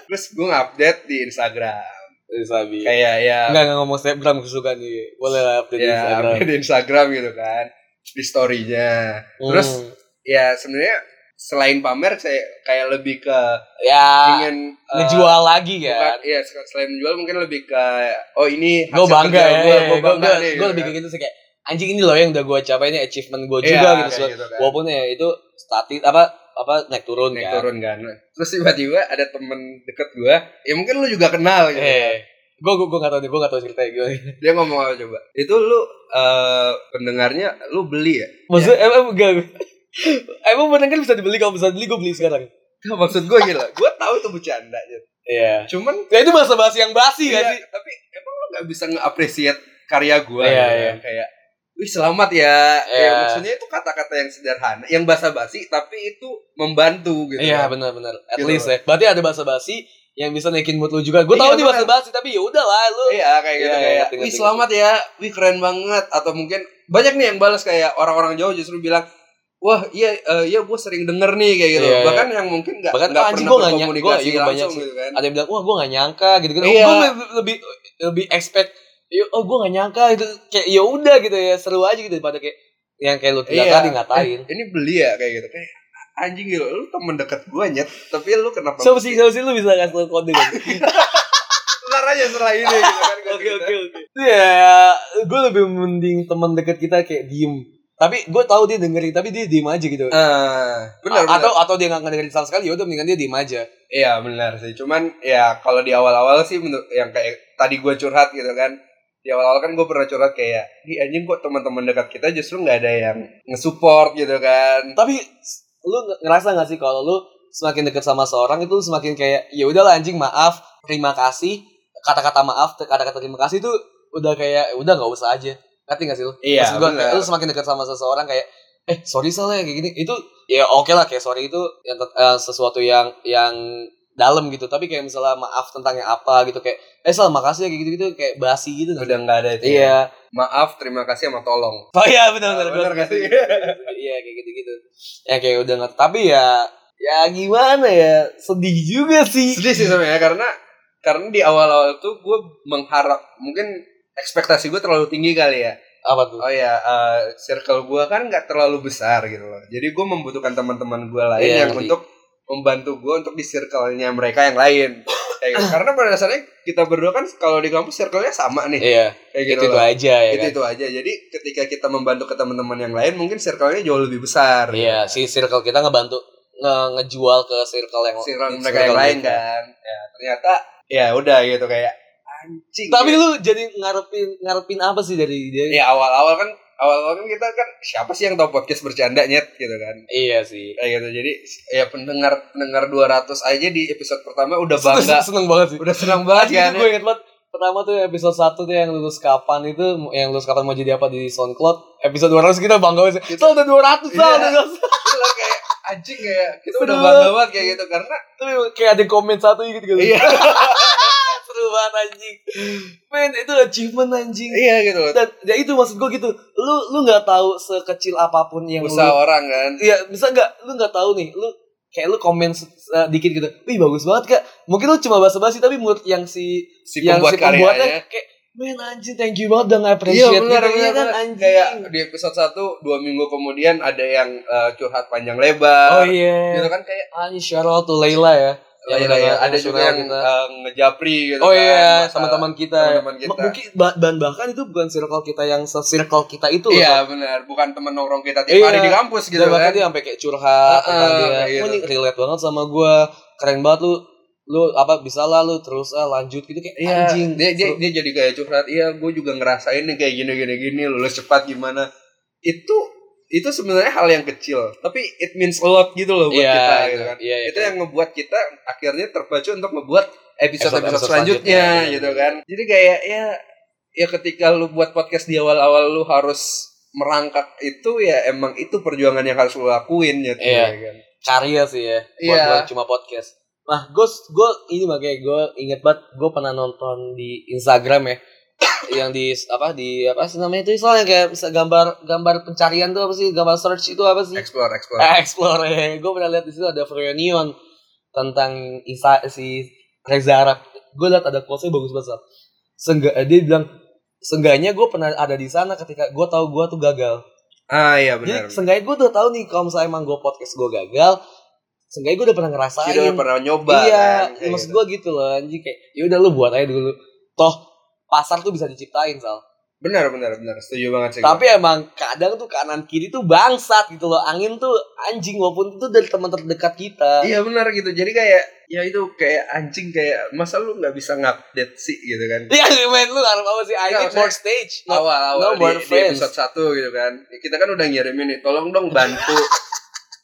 Speaker 1: Terus gue update di Instagram.
Speaker 2: Eh, Sabi.
Speaker 1: Kayak ya
Speaker 2: Enggak enggak ngomong Instagram kesukaan nih. Boleh lah update di
Speaker 1: ya
Speaker 2: Instagram.
Speaker 1: update di Instagram gitu kan. Di story-nya. Terus
Speaker 2: Hmm.
Speaker 1: ya sebenarnya selain pamer saya kayak lebih ke
Speaker 2: ya
Speaker 1: ingin eh,
Speaker 2: ngejual lagi
Speaker 1: bukan-
Speaker 2: kan.
Speaker 1: iya se- selain menjual mungkin lebih ke oh ini
Speaker 2: Gue bangga ya.
Speaker 1: gue
Speaker 2: Gue
Speaker 1: bangga nih gitu
Speaker 2: lebih
Speaker 1: kan.
Speaker 2: kayak gitu sih kayak anjing ini loh yang udah gue capai ini achievement gue
Speaker 1: Iya,
Speaker 2: juga gitu.
Speaker 1: kayak
Speaker 2: So,
Speaker 1: kan.
Speaker 2: Walaupun ya itu statis apa apa naik turun
Speaker 1: naik
Speaker 2: kan.
Speaker 1: turun kan terus tiba-tiba ada temen deket gue ya mungkin lu juga kenal gitu
Speaker 2: Eh, gue gue gue nggak tahu deh, gue nggak tahu ceritanya gue.
Speaker 1: dia ngomong apa coba itu lu eh, pendengarnya lu beli ya
Speaker 2: Maksudnya emang enggak. Emang menang kan bisa dibeli kalau bisa beli gue beli sekarang.
Speaker 1: Nah, maksud gue gila gue tahu itu bercanda gitu.
Speaker 2: Iya.
Speaker 1: cuman
Speaker 2: Ya itu bahasa bahasa yang basi
Speaker 1: Iya,
Speaker 2: kan sih.
Speaker 1: tapi emang lo gak bisa nge-appreciate karya gue
Speaker 2: Iya, iya.
Speaker 1: kayak Wih selamat ya.
Speaker 2: Iya.
Speaker 1: Ya, maksudnya itu kata-kata yang sederhana, yang basa-basi tapi itu membantu gitu.
Speaker 2: Iya
Speaker 1: kan.
Speaker 2: benar-benar. At
Speaker 1: Gitu
Speaker 2: least ya. Berarti ada bahasa basi yang bisa naikin mood lu juga. Gue
Speaker 1: Iya,
Speaker 2: tahu nih
Speaker 1: benar.
Speaker 2: bahasa basi tapi ya udahlah lu.
Speaker 1: Iya kayak gitu
Speaker 2: Iya, iya,
Speaker 1: kayak
Speaker 2: ngerti,
Speaker 1: wih
Speaker 2: ngerti,
Speaker 1: selamat ya, wih keren banget atau mungkin banyak nih yang balas kayak orang-orang jauh justru bilang Wah, iya, eh, iya, gue sering denger nih kayak gitu.
Speaker 2: Iya, iya.
Speaker 1: Bahkan yang mungkin nggak
Speaker 2: Bahkan,
Speaker 1: nggak
Speaker 2: "Ah,
Speaker 1: pernah
Speaker 2: anjing, gua nggak nyak-
Speaker 1: berkomunikasi
Speaker 2: gua- iya, banyak
Speaker 1: langsung
Speaker 2: sih.
Speaker 1: gitu kan.
Speaker 2: Ada yang bilang, wah gue gak nyangka gitu-gitu.
Speaker 1: Iya.
Speaker 2: Gue lebih, lebih lebih expect, "Ya, oh gue gak nyangka itu kayak ya udah gitu ya seru aja gitu daripada kayak yang kayak lu bilang
Speaker 1: Iya.
Speaker 2: tadi ngatain.
Speaker 1: Ini beli ya kayak gitu. Kayak anjing gila lu temen deket gua nyet tapi lu kenapa
Speaker 2: Eh, Siapa sih, siapa sih lu bisa kasih tau kode kan?
Speaker 1: ntar aja setelah ini gitu kan gua
Speaker 2: Oke,
Speaker 1: cerita.
Speaker 2: oke, oke. Ya, gue lebih mending teman dekat kita kayak diem. Tapi gue tahu dia dengerin, tapi dia diem aja gitu.
Speaker 1: Eh, benar
Speaker 2: A- atau atau dia nggak ngedengerin sama sekali, yaudah mendingan dia diem aja.
Speaker 1: Iya benar sih. Cuman ya kalau di awal-awal sih menurut yang kayak tadi gue curhat gitu kan. Di awal-awal kan gue pernah curhat kayak, di anjing kok teman-teman dekat kita justru nggak ada yang ngesupport gitu kan.
Speaker 2: Tapi s- lu nge- ngerasa nggak sih kalau lu semakin dekat sama seorang itu lu semakin kayak ya udahlah anjing maaf, terima kasih, kata-kata maaf, te- kata-kata terima kasih itu udah kayak "Ya udah nggak usah aja. Ngerti nggak sih lu?
Speaker 1: Iya,
Speaker 2: Maksud gua,
Speaker 1: benar.
Speaker 2: lu semakin dekat sama seseorang kayak eh sorry salah kayak gini itu ya oke lah kayak sorry itu yang tet- eh, sesuatu yang yang dalam gitu tapi kayak misalnya maaf tentang yang apa gitu kayak eh salah makasih ya kayak gitu gitu kayak basi gitu nggak sih?
Speaker 1: Udah nggak ada itu. ya.
Speaker 2: iya
Speaker 1: Maaf, terima kasih sama tolong.
Speaker 2: Oh iya benar
Speaker 1: Ah,
Speaker 2: benar benar
Speaker 1: benar nggak sih?
Speaker 2: Iya kayak gitu-gitu. Ya kayak udah nggak tapi ya ya gimana ya sedih juga sih.
Speaker 1: Sedih sih sebenarnya karena karena di awal-awal tuh gue mengharap mungkin ekspektasi gue terlalu tinggi kali ya.
Speaker 2: Apa tuh?
Speaker 1: Oh ya, eh, circle gue kan nggak terlalu besar gitu loh. Jadi gue membutuhkan teman-teman gue lain
Speaker 2: Iya,
Speaker 1: yang
Speaker 2: ngerti.
Speaker 1: untuk membantu gue untuk di circle-nya mereka yang lain. Kayak gitu. Karena pada dasarnya kita berdua kan kalau di kampus circle-nya sama nih.
Speaker 2: Iya,
Speaker 1: Kayak gitu
Speaker 2: itu itu
Speaker 1: loh.
Speaker 2: aja ya
Speaker 1: Itu
Speaker 2: kan.
Speaker 1: itu aja. Jadi ketika kita membantu ke teman-teman yang lain, mungkin circle-nya jauh lebih besar.
Speaker 2: Iya, si circle kita ngebantu nge- ngejual ke circle gitu. yang
Speaker 1: Circle mereka yang lain
Speaker 2: mereka.
Speaker 1: kan. Ya, ternyata ya udah gitu kayak anjing.
Speaker 2: Tapi lu jadi ngarepin ngarepin apa sih dari dia?
Speaker 1: ya awal-awal kan awal-awal kan kita kan siapa sih yang tahu podcast bercanda nyet gitu kan.
Speaker 2: Iya sih.
Speaker 1: kayak gitu jadi ya pendengar pendengar 200 aja di episode pertama udah bangga
Speaker 2: Seneng, seneng banget sih.
Speaker 1: udah senang banget
Speaker 2: Anjing
Speaker 1: kan
Speaker 2: itu gue inget banget pertama tuh episode 1 tuh yang lulus kapan itu yang lulus kapan mau jadi apa di SoundCloud episode 200 kita bangga banget sih. Sal udah 200 sal
Speaker 1: Iya.
Speaker 2: udah 200.
Speaker 1: Gila, kayak anjing kayak kita udah
Speaker 2: Seru.
Speaker 1: bangga banget kayak gitu karena
Speaker 2: Tapi kayak ada komen satu gitu gitu.
Speaker 1: iya
Speaker 2: Seru banget anjing. Men itu achievement anjing.
Speaker 1: iya gitu loh
Speaker 2: Dan ya itu maksud gue gitu. Lu lu nggak tahu sekecil apapun yang
Speaker 1: usaha
Speaker 2: lu
Speaker 1: orang kan
Speaker 2: Iya, bisa nggak lu nggak tahu nih. Lu kayak lu komen se- se- dikit gitu. Wih bagus banget Kak. Mungkin lu cuma basa-basi tapi menurut yang si
Speaker 1: si
Speaker 2: yang
Speaker 1: pembuat
Speaker 2: si pembuatnya
Speaker 1: karyanya
Speaker 2: kayak men anjing thank you banget udah nge-appreciate
Speaker 1: iya benar
Speaker 2: gitu. Iya
Speaker 1: benar
Speaker 2: kan
Speaker 1: benar.
Speaker 2: anjing.
Speaker 1: kayak di episode 1 dua minggu kemudian ada yang eh, curhat panjang lebar
Speaker 2: Oh iya.
Speaker 1: gitu kan kayak
Speaker 2: Anjing shout out to Layla ya.
Speaker 1: ya, ya,
Speaker 2: Yang
Speaker 1: ya,
Speaker 2: udah-
Speaker 1: ada
Speaker 2: yang
Speaker 1: juga
Speaker 2: suka
Speaker 1: yang
Speaker 2: kita.
Speaker 1: eh, ngejapri gitu
Speaker 2: Oh
Speaker 1: kan,
Speaker 2: iya,
Speaker 1: masalah.
Speaker 2: teman-teman kita.
Speaker 1: teman-teman kita.
Speaker 2: Ma- Mungkin ba- dan bahkan itu bukan circle kita yang circle kita itu loh.
Speaker 1: iya benar bukan teman nongkrong kita tiap
Speaker 2: Iya.
Speaker 1: hari di kampus
Speaker 2: Dan
Speaker 1: gitu
Speaker 2: bahkan
Speaker 1: kan
Speaker 2: dia sampai kayak curhat
Speaker 1: Heeh,
Speaker 2: tentang dia.
Speaker 1: kayak
Speaker 2: "Oh,
Speaker 1: gitu.
Speaker 2: ini relate banget sama gua. Keren banget lu. Lu apa bisa lah lu terus ah, lanjut gitu kayak
Speaker 1: Iya,
Speaker 2: anjing.
Speaker 1: dia, dia,
Speaker 2: Seru.
Speaker 1: dia jadi kayak curhat. Iya, gue juga ngerasain nih kayak gini gini gini lulus cepat gimana. Itu itu sebenarnya hal yang kecil, tapi it means a lot gitu loh buat
Speaker 2: Iya,
Speaker 1: kita
Speaker 2: itu-
Speaker 1: gitu kan.
Speaker 2: Iya, iya,
Speaker 1: itu yang ngebuat kita akhirnya terpacu untuk membuat episode-episode
Speaker 2: Episode-episode
Speaker 1: selanjutnya
Speaker 2: selanjutnya,
Speaker 1: gitu
Speaker 2: iya.
Speaker 1: kan. Jadi kayak ya ya ketika lu buat podcast di awal-awal lu harus merangkak itu ya emang itu perjuangan yang harus lu lakuin gitu
Speaker 2: Iya.
Speaker 1: ya kan.
Speaker 2: karya sih ya buat
Speaker 1: Iya.
Speaker 2: buat cuma podcast nah gue gue ini makanya gue inget banget gue pernah nonton di Instagram ya yang di apa di apa sih namanya itu soalnya kayak bisa gambar gambar pencarian tuh apa sih gambar search itu apa sih
Speaker 1: Explore, explore.
Speaker 2: Eh, explore ya gue pernah lihat di situ ada reunion tentang Isa si Reza Arab gue lihat ada quotes bagus banget Sat. Sengga, eh, dia bilang Seenggaknya gue pernah ada di sana ketika gue tahu gue tuh gagal.
Speaker 1: Ah iya benar.
Speaker 2: Jadi seenggaknya gue udah tahu nih kalau misalnya emang gue podcast gue gagal, seenggaknya gue udah pernah ngerasain.
Speaker 1: Kita udah pernah nyoba
Speaker 2: iya,
Speaker 1: kan, kayak
Speaker 2: maksud
Speaker 1: gitu.
Speaker 2: gue gitu loh anjing kayak ya udah lu buat aja dulu. Toh pasar tuh bisa diciptain sal.
Speaker 1: Benar benar benar. Setuju banget sih. gua.
Speaker 2: Tapi emang kadang tuh kanan kiri tuh bangsat gitu loh. Angin tuh anjing walaupun itu dari teman terdekat kita.
Speaker 1: Iya benar gitu. Jadi kayak ya itu kayak anjing kayak masa lu nggak bisa ngupdate sih gitu kan.
Speaker 2: Iya, men lu harus apa sih? I
Speaker 1: Iya,
Speaker 2: need more stage. No,
Speaker 1: Awal-awal
Speaker 2: no more
Speaker 1: di, di
Speaker 2: friends.
Speaker 1: episode 1 gitu kan. Ya, Kita kan udah ngirimin nih, tolong dong bantu.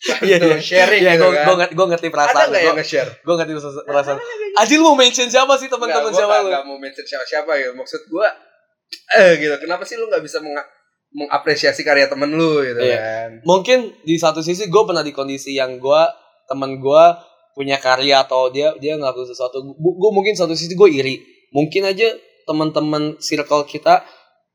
Speaker 1: bantu
Speaker 2: Iya, iya.
Speaker 1: sharing
Speaker 2: Iya,
Speaker 1: gitu
Speaker 2: gue
Speaker 1: kan.
Speaker 2: gue ngerti, gua ngerti
Speaker 1: Ada
Speaker 2: perasaan.
Speaker 1: nggak ya? yang
Speaker 2: Gue
Speaker 1: nge-share?
Speaker 2: gue ngerti perasaan. Aji lu mau mention siapa sih
Speaker 1: ya?
Speaker 2: teman-teman
Speaker 1: Nggak, gua
Speaker 2: siapa
Speaker 1: nggak-
Speaker 2: lu?
Speaker 1: nggak mau mention siapa-siapa gitu. Maksud gua eh gitu. Kenapa sih lu nggak bisa meng mengapresiasi karya temen lu gitu
Speaker 2: Iya.
Speaker 1: kan.
Speaker 2: mungkin di satu sisi gue pernah di kondisi yang gue teman gue punya karya atau dia dia ngelakuin sesuatu gue mungkin satu sisi gue iri mungkin aja teman-teman circle kita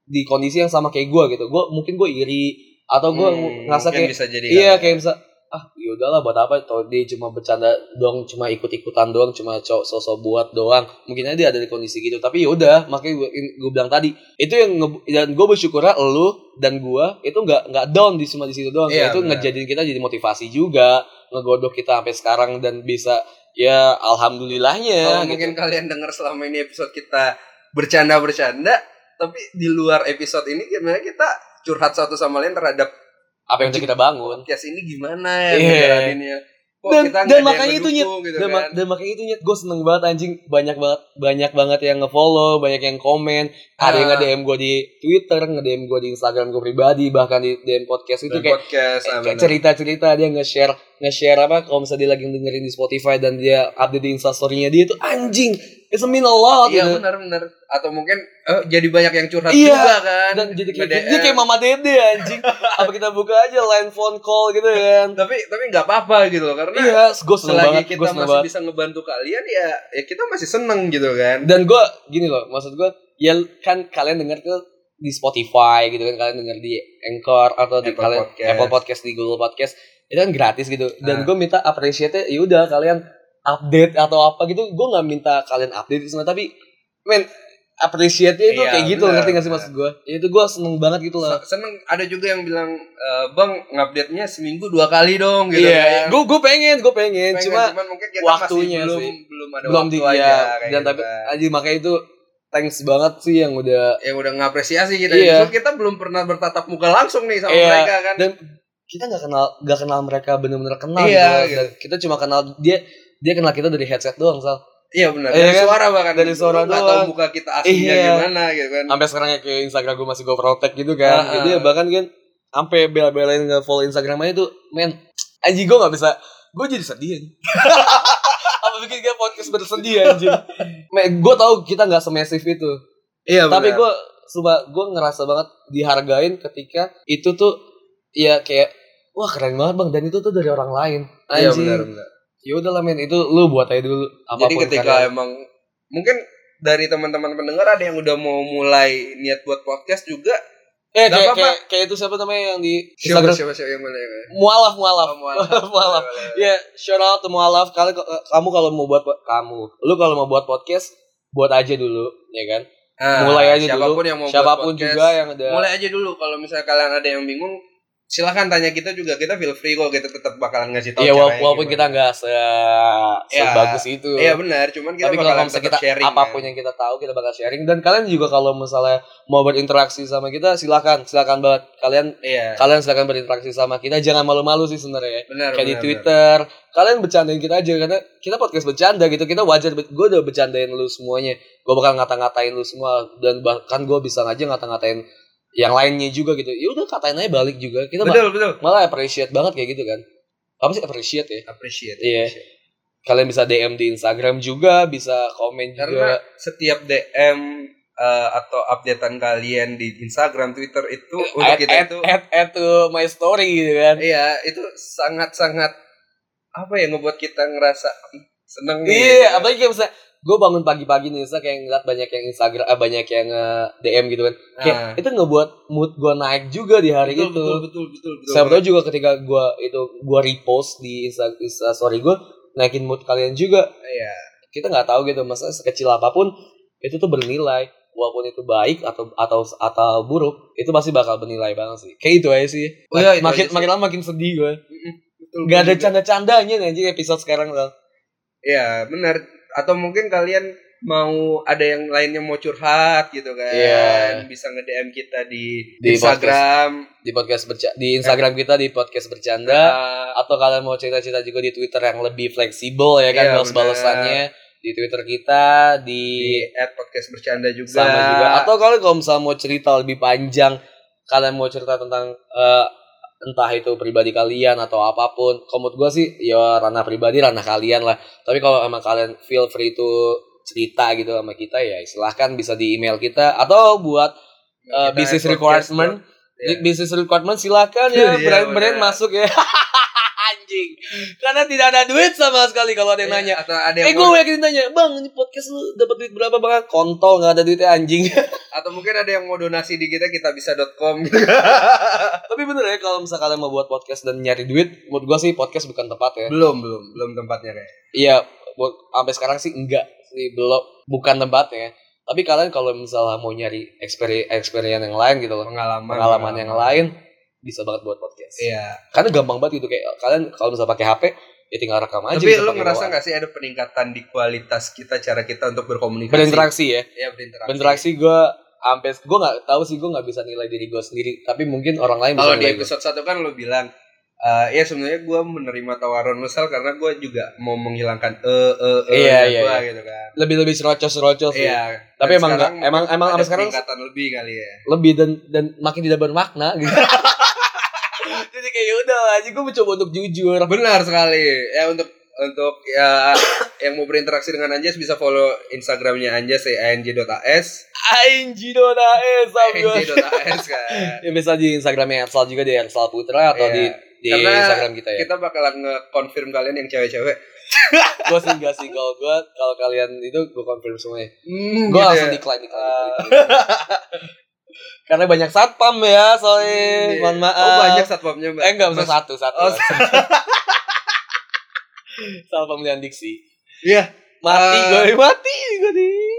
Speaker 2: di kondisi yang sama kayak gue gitu gue mungkin gue iri atau gue
Speaker 1: Hmm,
Speaker 2: ngerasa
Speaker 1: mungkin
Speaker 2: kayak
Speaker 1: bisa jadi
Speaker 2: iya
Speaker 1: kan.
Speaker 2: kayak bisa ah ya udahlah buat apa kalau dia cuma bercanda doang cuma ikut-ikutan doang cuma cowok sosok buat doang mungkin aja dia ada di kondisi gitu tapi yaudah makanya gue, gue bilang tadi itu yang nge- dan gue bersyukur lu dan gue itu nggak nggak down di cuma di situ doang
Speaker 1: Iya,
Speaker 2: itu
Speaker 1: benar.
Speaker 2: ngejadiin kita jadi motivasi juga ngegodok kita sampai sekarang dan bisa ya
Speaker 1: Kalau
Speaker 2: alhamdulillahnya gitu.
Speaker 1: mungkin kalian dengar selama ini episode kita bercanda-bercanda, tapi di luar episode ini gimana kita curhat satu sama lain terhadap
Speaker 2: apa yang udah kita bangun
Speaker 1: podcast ini gimana ya
Speaker 2: Iya.
Speaker 1: ngejalaninnya. Kok
Speaker 2: Dan-
Speaker 1: kita nggak
Speaker 2: dan
Speaker 1: ada yang
Speaker 2: makanya itu
Speaker 1: mendukung gitu
Speaker 2: dan,
Speaker 1: kan.
Speaker 2: ma- dan makanya itu nyet gue seneng banget anjing banyak banget banyak banget yang ngefollow banyak yang komen ada yang
Speaker 1: Ah.
Speaker 2: nge DM gue di Twitter nge DM gue di Instagram gue pribadi bahkan di DM podcast itu
Speaker 1: Dan
Speaker 2: kayak
Speaker 1: podcast ah, benar.
Speaker 2: cerita cerita dia nge-share nge-share apa kalau misalnya dia lagi dengerin di Spotify dan dia update di Instastory-nya dia itu anjing it's a mean a lot
Speaker 1: Iya
Speaker 2: gitu.
Speaker 1: benar-benar. Atau mungkin eh, jadi banyak yang curhat
Speaker 2: Iya.
Speaker 1: juga kan.
Speaker 2: dan jadi kayak,
Speaker 1: Nge-DM.
Speaker 2: dia kayak mama dede anjing apa kita buka aja line phone call gitu kan
Speaker 1: tapi tapi nggak apa-apa gitu loh karena
Speaker 2: iya gue seneng
Speaker 1: selagi
Speaker 2: banget
Speaker 1: kita
Speaker 2: gue
Speaker 1: masih
Speaker 2: seneng banget
Speaker 1: bisa ngebantu kalian ya ya kita masih seneng gitu kan.
Speaker 2: dan gue gini loh maksud gue ya kan kalian denger tuh di Spotify gitu kan kalian denger di Anchor atau di
Speaker 1: Apple
Speaker 2: kalian
Speaker 1: Podcast.
Speaker 2: Apple Podcast di Google Podcast itu kan gratis gitu
Speaker 1: Ah.
Speaker 2: dan gue minta appreciate ya udah kalian update atau apa gitu gue nggak minta kalian update semua tapi men appreciate itu
Speaker 1: Iya,
Speaker 2: kayak gitu
Speaker 1: benar,
Speaker 2: ngerti gak sih
Speaker 1: benar.
Speaker 2: maksud gue ya itu gue seneng banget gitu lah
Speaker 1: Se- Seneng ada juga yang bilang e, bang ngupdate nya seminggu dua kali dong gitu
Speaker 2: iya
Speaker 1: kan.
Speaker 2: gue gue pengen gue pengen,
Speaker 1: Pengen,
Speaker 2: cuma
Speaker 1: cuman mungkin kita
Speaker 2: waktunya
Speaker 1: masih belum
Speaker 2: sih.
Speaker 1: belum ada
Speaker 2: belum
Speaker 1: waktu
Speaker 2: di
Speaker 1: aja
Speaker 2: iya,
Speaker 1: kayak
Speaker 2: dan
Speaker 1: gitu
Speaker 2: tapi
Speaker 1: kan.
Speaker 2: aja makanya itu thanks banget sih yang udah
Speaker 1: yang udah ngapresiasi kita
Speaker 2: Iya.
Speaker 1: Justru kita belum pernah bertatap muka langsung nih sama
Speaker 2: Iya.
Speaker 1: mereka kan
Speaker 2: dan kita nggak kenal nggak kenal mereka bener-bener kenal
Speaker 1: Iya,
Speaker 2: gitu. loh. Dan kita cuma kenal dia dia kenal kita dari headset doang sal
Speaker 1: iya benar
Speaker 2: Iya
Speaker 1: dari
Speaker 2: kan?
Speaker 1: suara bahkan
Speaker 2: Dari suara
Speaker 1: Lu nggak
Speaker 2: doang.
Speaker 1: tahu muka kita aslinya
Speaker 2: Iya.
Speaker 1: gimana gitu kan
Speaker 2: sampai sekarang ya ke Instagram gue masih gue protect gitu kan
Speaker 1: Ah, ah.
Speaker 2: dia bahkan kan sampai bela-belain nge follow Instagram aja tuh men anjing gue nggak bisa gue jadi sedih anjing. apa bikin gue podcast bersedih anjing men gue tahu kita nggak semasif itu
Speaker 1: iya
Speaker 2: tapi
Speaker 1: benar.
Speaker 2: gue sumpah gue ngerasa banget dihargain ketika itu tuh ya kayak wah keren banget bang dan itu tuh dari orang lain
Speaker 1: iya
Speaker 2: anjing
Speaker 1: benar benar
Speaker 2: ya udah lah men itu lu buat aja dulu apapun
Speaker 1: jadi ketika
Speaker 2: karya.
Speaker 1: emang mungkin dari teman-teman pendengar ada yang udah mau mulai niat buat podcast juga nggak
Speaker 2: eh kayak,
Speaker 1: apa-apa.
Speaker 2: kayak kayak itu siapa namanya yang di
Speaker 1: siapa
Speaker 2: Instagram
Speaker 1: siapa siapa yang mulai ya?
Speaker 2: mualaf mualaf
Speaker 1: Oh, mualaf.
Speaker 2: mualaf ya shout out to mualaf kalian kamu kalau mau buat kamu lu kalau mau buat podcast buat aja dulu ya kan
Speaker 1: Ah,
Speaker 2: mulai aja
Speaker 1: siapapun
Speaker 2: dulu
Speaker 1: yang mau buat
Speaker 2: siapapun
Speaker 1: podcast,
Speaker 2: juga yang ada
Speaker 1: mulai aja dulu kalau misalnya kalian ada yang bingung silahkan tanya kita juga kita feel free kok kita tetap bakalan ngasih tahu
Speaker 2: Iya
Speaker 1: caranya
Speaker 2: walaupun
Speaker 1: gimana.
Speaker 2: kita nggak se
Speaker 1: Ya.
Speaker 2: sebagus itu
Speaker 1: iya benar cuman kita
Speaker 2: tapi kalau
Speaker 1: bakalan
Speaker 2: misalnya
Speaker 1: tetap
Speaker 2: kita
Speaker 1: sharing
Speaker 2: apapun
Speaker 1: kan.
Speaker 2: yang kita tahu kita bakal sharing dan kalian juga kalau misalnya mau berinteraksi sama kita silakan silakan banget kalian
Speaker 1: iya
Speaker 2: kalian silakan berinteraksi sama kita jangan malu-malu sih sebenarnya ya.
Speaker 1: benar
Speaker 2: kayak di
Speaker 1: benar,
Speaker 2: Twitter kalian bercandain kita aja karena kita podcast bercanda gitu kita wajar gue udah bercandain lu semuanya gue bakal ngata-ngatain lu semua dan bahkan gue bisa aja ngata-ngatain yang lainnya juga gitu ya udah katain aja balik juga kita
Speaker 1: benar.
Speaker 2: ma-
Speaker 1: betul betul
Speaker 2: malah appreciate banget kayak gitu kan apa sih appreciate ya
Speaker 1: appreciate
Speaker 2: Iya.
Speaker 1: appreciate.
Speaker 2: kalian bisa DM di Instagram juga bisa komen
Speaker 1: karena
Speaker 2: juga
Speaker 1: setiap DM eh, atau updatean kalian di Instagram Twitter itu untuk
Speaker 2: add,
Speaker 1: kita
Speaker 2: add,
Speaker 1: itu
Speaker 2: add, add to my story gitu kan
Speaker 1: iya itu sangat sangat apa ya ngebuat kita ngerasa "Ih, seneng gitu. nih
Speaker 2: Iya, apalagi kayak misalnya gue bangun pagi-pagi nih, misalnya kayak ngeliat banyak yang Instagram, ah, banyak yang eh, DM gitu kan. Kayak
Speaker 1: Ah.
Speaker 2: itu ngebuat mood gue naik juga di hari
Speaker 1: betul,
Speaker 2: itu.
Speaker 1: betul betul betul betul
Speaker 2: Siapa tahu juga ketika gue itu gue repost di Insta, Insta story gue naikin mood kalian juga.
Speaker 1: iya
Speaker 2: Kita nggak tahu gitu, maksudnya sekecil apapun itu tuh bernilai walaupun itu baik atau atau atau buruk itu pasti bakal bernilai banget sih kayak itu aja sih
Speaker 1: Oh iya, itu
Speaker 2: makin
Speaker 1: aja sih. Iya.
Speaker 2: makin lama makin sedih gue
Speaker 1: Mm-mm, betul,
Speaker 2: nggak ada
Speaker 1: betul.
Speaker 2: canda-candanya nih anjing episode sekarang loh
Speaker 1: Iya benar. Atau mungkin kalian mau ada yang lainnya mau curhat gitu kan?
Speaker 2: Iya.
Speaker 1: Bisa nge DM kita di,
Speaker 2: Di
Speaker 1: Instagram.
Speaker 2: di podcast berca di Instagram kita di podcast bercanda
Speaker 1: Eh,
Speaker 2: atau kalian mau cerita-cerita juga di Twitter yang lebih fleksibel ya kan
Speaker 1: Iya,
Speaker 2: balas-balasannya di Twitter kita di,
Speaker 1: di at podcast bercanda juga.
Speaker 2: sama juga atau kalian kalau misalnya mau cerita lebih panjang kalian mau cerita tentang eh, entah itu pribadi kalian atau apapun komut gue sih ya ranah pribadi ranah kalian lah tapi kalau emang kalian feel free to cerita gitu sama kita ya silahkan bisa di email kita atau buat
Speaker 1: Kita
Speaker 2: eh,
Speaker 1: at
Speaker 2: business
Speaker 1: podcast
Speaker 2: requirement
Speaker 1: dot- Iya.
Speaker 2: Bisnis requirement silakan
Speaker 1: Iya,
Speaker 2: ya brand-brand
Speaker 1: bener.
Speaker 2: masuk ya. Anjing. Karena tidak ada duit sama sekali kalau ada yang
Speaker 1: Iya,
Speaker 2: nanya.
Speaker 1: atau ada yang
Speaker 2: Eh gue
Speaker 1: mau, Ah,
Speaker 2: yakin nanya, bang ini podcast lu dapat duit berapa bang? Kontol nggak ada duitnya anjing.
Speaker 1: atau mungkin ada yang mau donasi di kita kita bisa.com gitu kan.
Speaker 2: Tapi bener ya kalau misalnya kalian mau buat podcast dan nyari duit, menurut gua sih podcast bukan tempat ya.
Speaker 1: belum belum belum tempatnya kayaknya
Speaker 2: Iya, buat sampai sekarang sih enggak sih belum bukan tempatnya. Tapi kalian kalau misalnya mau nyari experience experience yang lain gitu loh,
Speaker 1: pengalaman
Speaker 2: pengalaman yang lain bisa banget buat podcast.
Speaker 1: iya
Speaker 2: Karena gampang banget gitu kayak kalian kalau misalnya pakai HP ya tinggal rekam aja.
Speaker 1: tapi
Speaker 2: gitu
Speaker 1: lu
Speaker 2: pakai
Speaker 1: ngerasa
Speaker 2: bawaan.
Speaker 1: nggak sih ada peningkatan di kualitas kita cara kita untuk berkomunikasi
Speaker 2: berinteraksi ya?
Speaker 1: Iya, berinteraksi
Speaker 2: Berinteraksi gua sampai gue nggak tahu sih gue nggak bisa nilai diri gue sendiri tapi mungkin orang lain bisa
Speaker 1: kalau di
Speaker 2: nilai gua.
Speaker 1: episode satu kan lu bilang "Eh, ya sebenarnya gue menerima tawaran misal karena gue juga mau menghilangkan eh eh eh
Speaker 2: Iya,
Speaker 1: dari
Speaker 2: iya,
Speaker 1: gua,"
Speaker 2: iya.
Speaker 1: gitu kan
Speaker 2: lebih lebih serocos serocos
Speaker 1: iya
Speaker 2: Tapi
Speaker 1: Dan
Speaker 2: emang
Speaker 1: sekarang
Speaker 2: nggak- emang- emang
Speaker 1: ada
Speaker 2: sampai sekarang-
Speaker 1: peningkatan lebih kali ya
Speaker 2: lebih dan dan makin tidak bermakna gitu jadi kayak udah aja gue mencoba untuk jujur
Speaker 1: benar sekali ya untuk untuk ya yang mau berinteraksi dengan Anjas bisa follow Instagramnya Anjas ya anj.as
Speaker 2: anj dona es
Speaker 1: anj.as kan
Speaker 2: eh, ya bisa di instagramnya Ersal juga di Ersal Putra
Speaker 1: Iya.
Speaker 2: atau di di
Speaker 1: Karena
Speaker 2: instagram kita ya
Speaker 1: kita bakalan nge-confirm kalian yang cewek-cewek
Speaker 2: gue sih enggak sih kalau gue kalau kalian itu gue confirm semuanya
Speaker 1: hmm,
Speaker 2: gue langsung decline decline, decline. karena banyak satpam ya soalnya mohon maaf
Speaker 1: oh banyak satpamnya mbak
Speaker 2: eh enggak bisa
Speaker 1: Mas-
Speaker 2: satu satu
Speaker 1: Oh,
Speaker 2: salah pemilihan diksi
Speaker 1: iya
Speaker 2: mati
Speaker 1: Eh,
Speaker 2: gue mati gue nih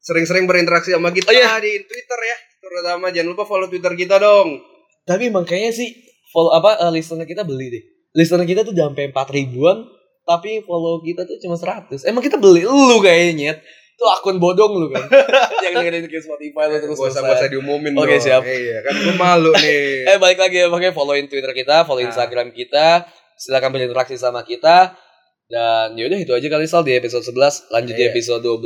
Speaker 1: sering-sering berinteraksi sama kita
Speaker 2: Oh, iya.
Speaker 1: di Twitter ya terutama jangan lupa follow Twitter kita dong
Speaker 2: Tapi emang kayaknya sih follow apa eh, listener kita beli deh. Listener kita tuh udah sampai 4 ribuan, tapi follow kita tuh cuma 100. Emang kita beli lu kayaknya. Nyet. Itu akun bodong lu kan. Yang dengerin ke Spotify lu terus.
Speaker 1: gak usah gak
Speaker 2: terusan.
Speaker 1: usah diumumin dong.
Speaker 2: Oke, siap.
Speaker 1: iya kan gue malu nih
Speaker 2: Eh balik lagi ya, makanya followin Twitter kita, follow
Speaker 1: Nah.
Speaker 2: Instagram kita, silakan berinteraksi sama kita. Dan yaudah itu aja kali Sal di episode 11, lanjut di
Speaker 1: Iya.
Speaker 2: episode 12.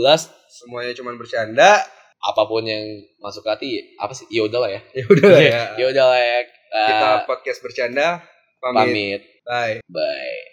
Speaker 1: semuanya cuman bercanda
Speaker 2: Apapun yang masuk ke hati, apa sih? Ya udahlah ya.
Speaker 1: ya udah lah ya
Speaker 2: Ya udahlah ya. Eh,
Speaker 1: kita podcast bercanda pamit,
Speaker 2: pamit.
Speaker 1: bye
Speaker 2: Bye.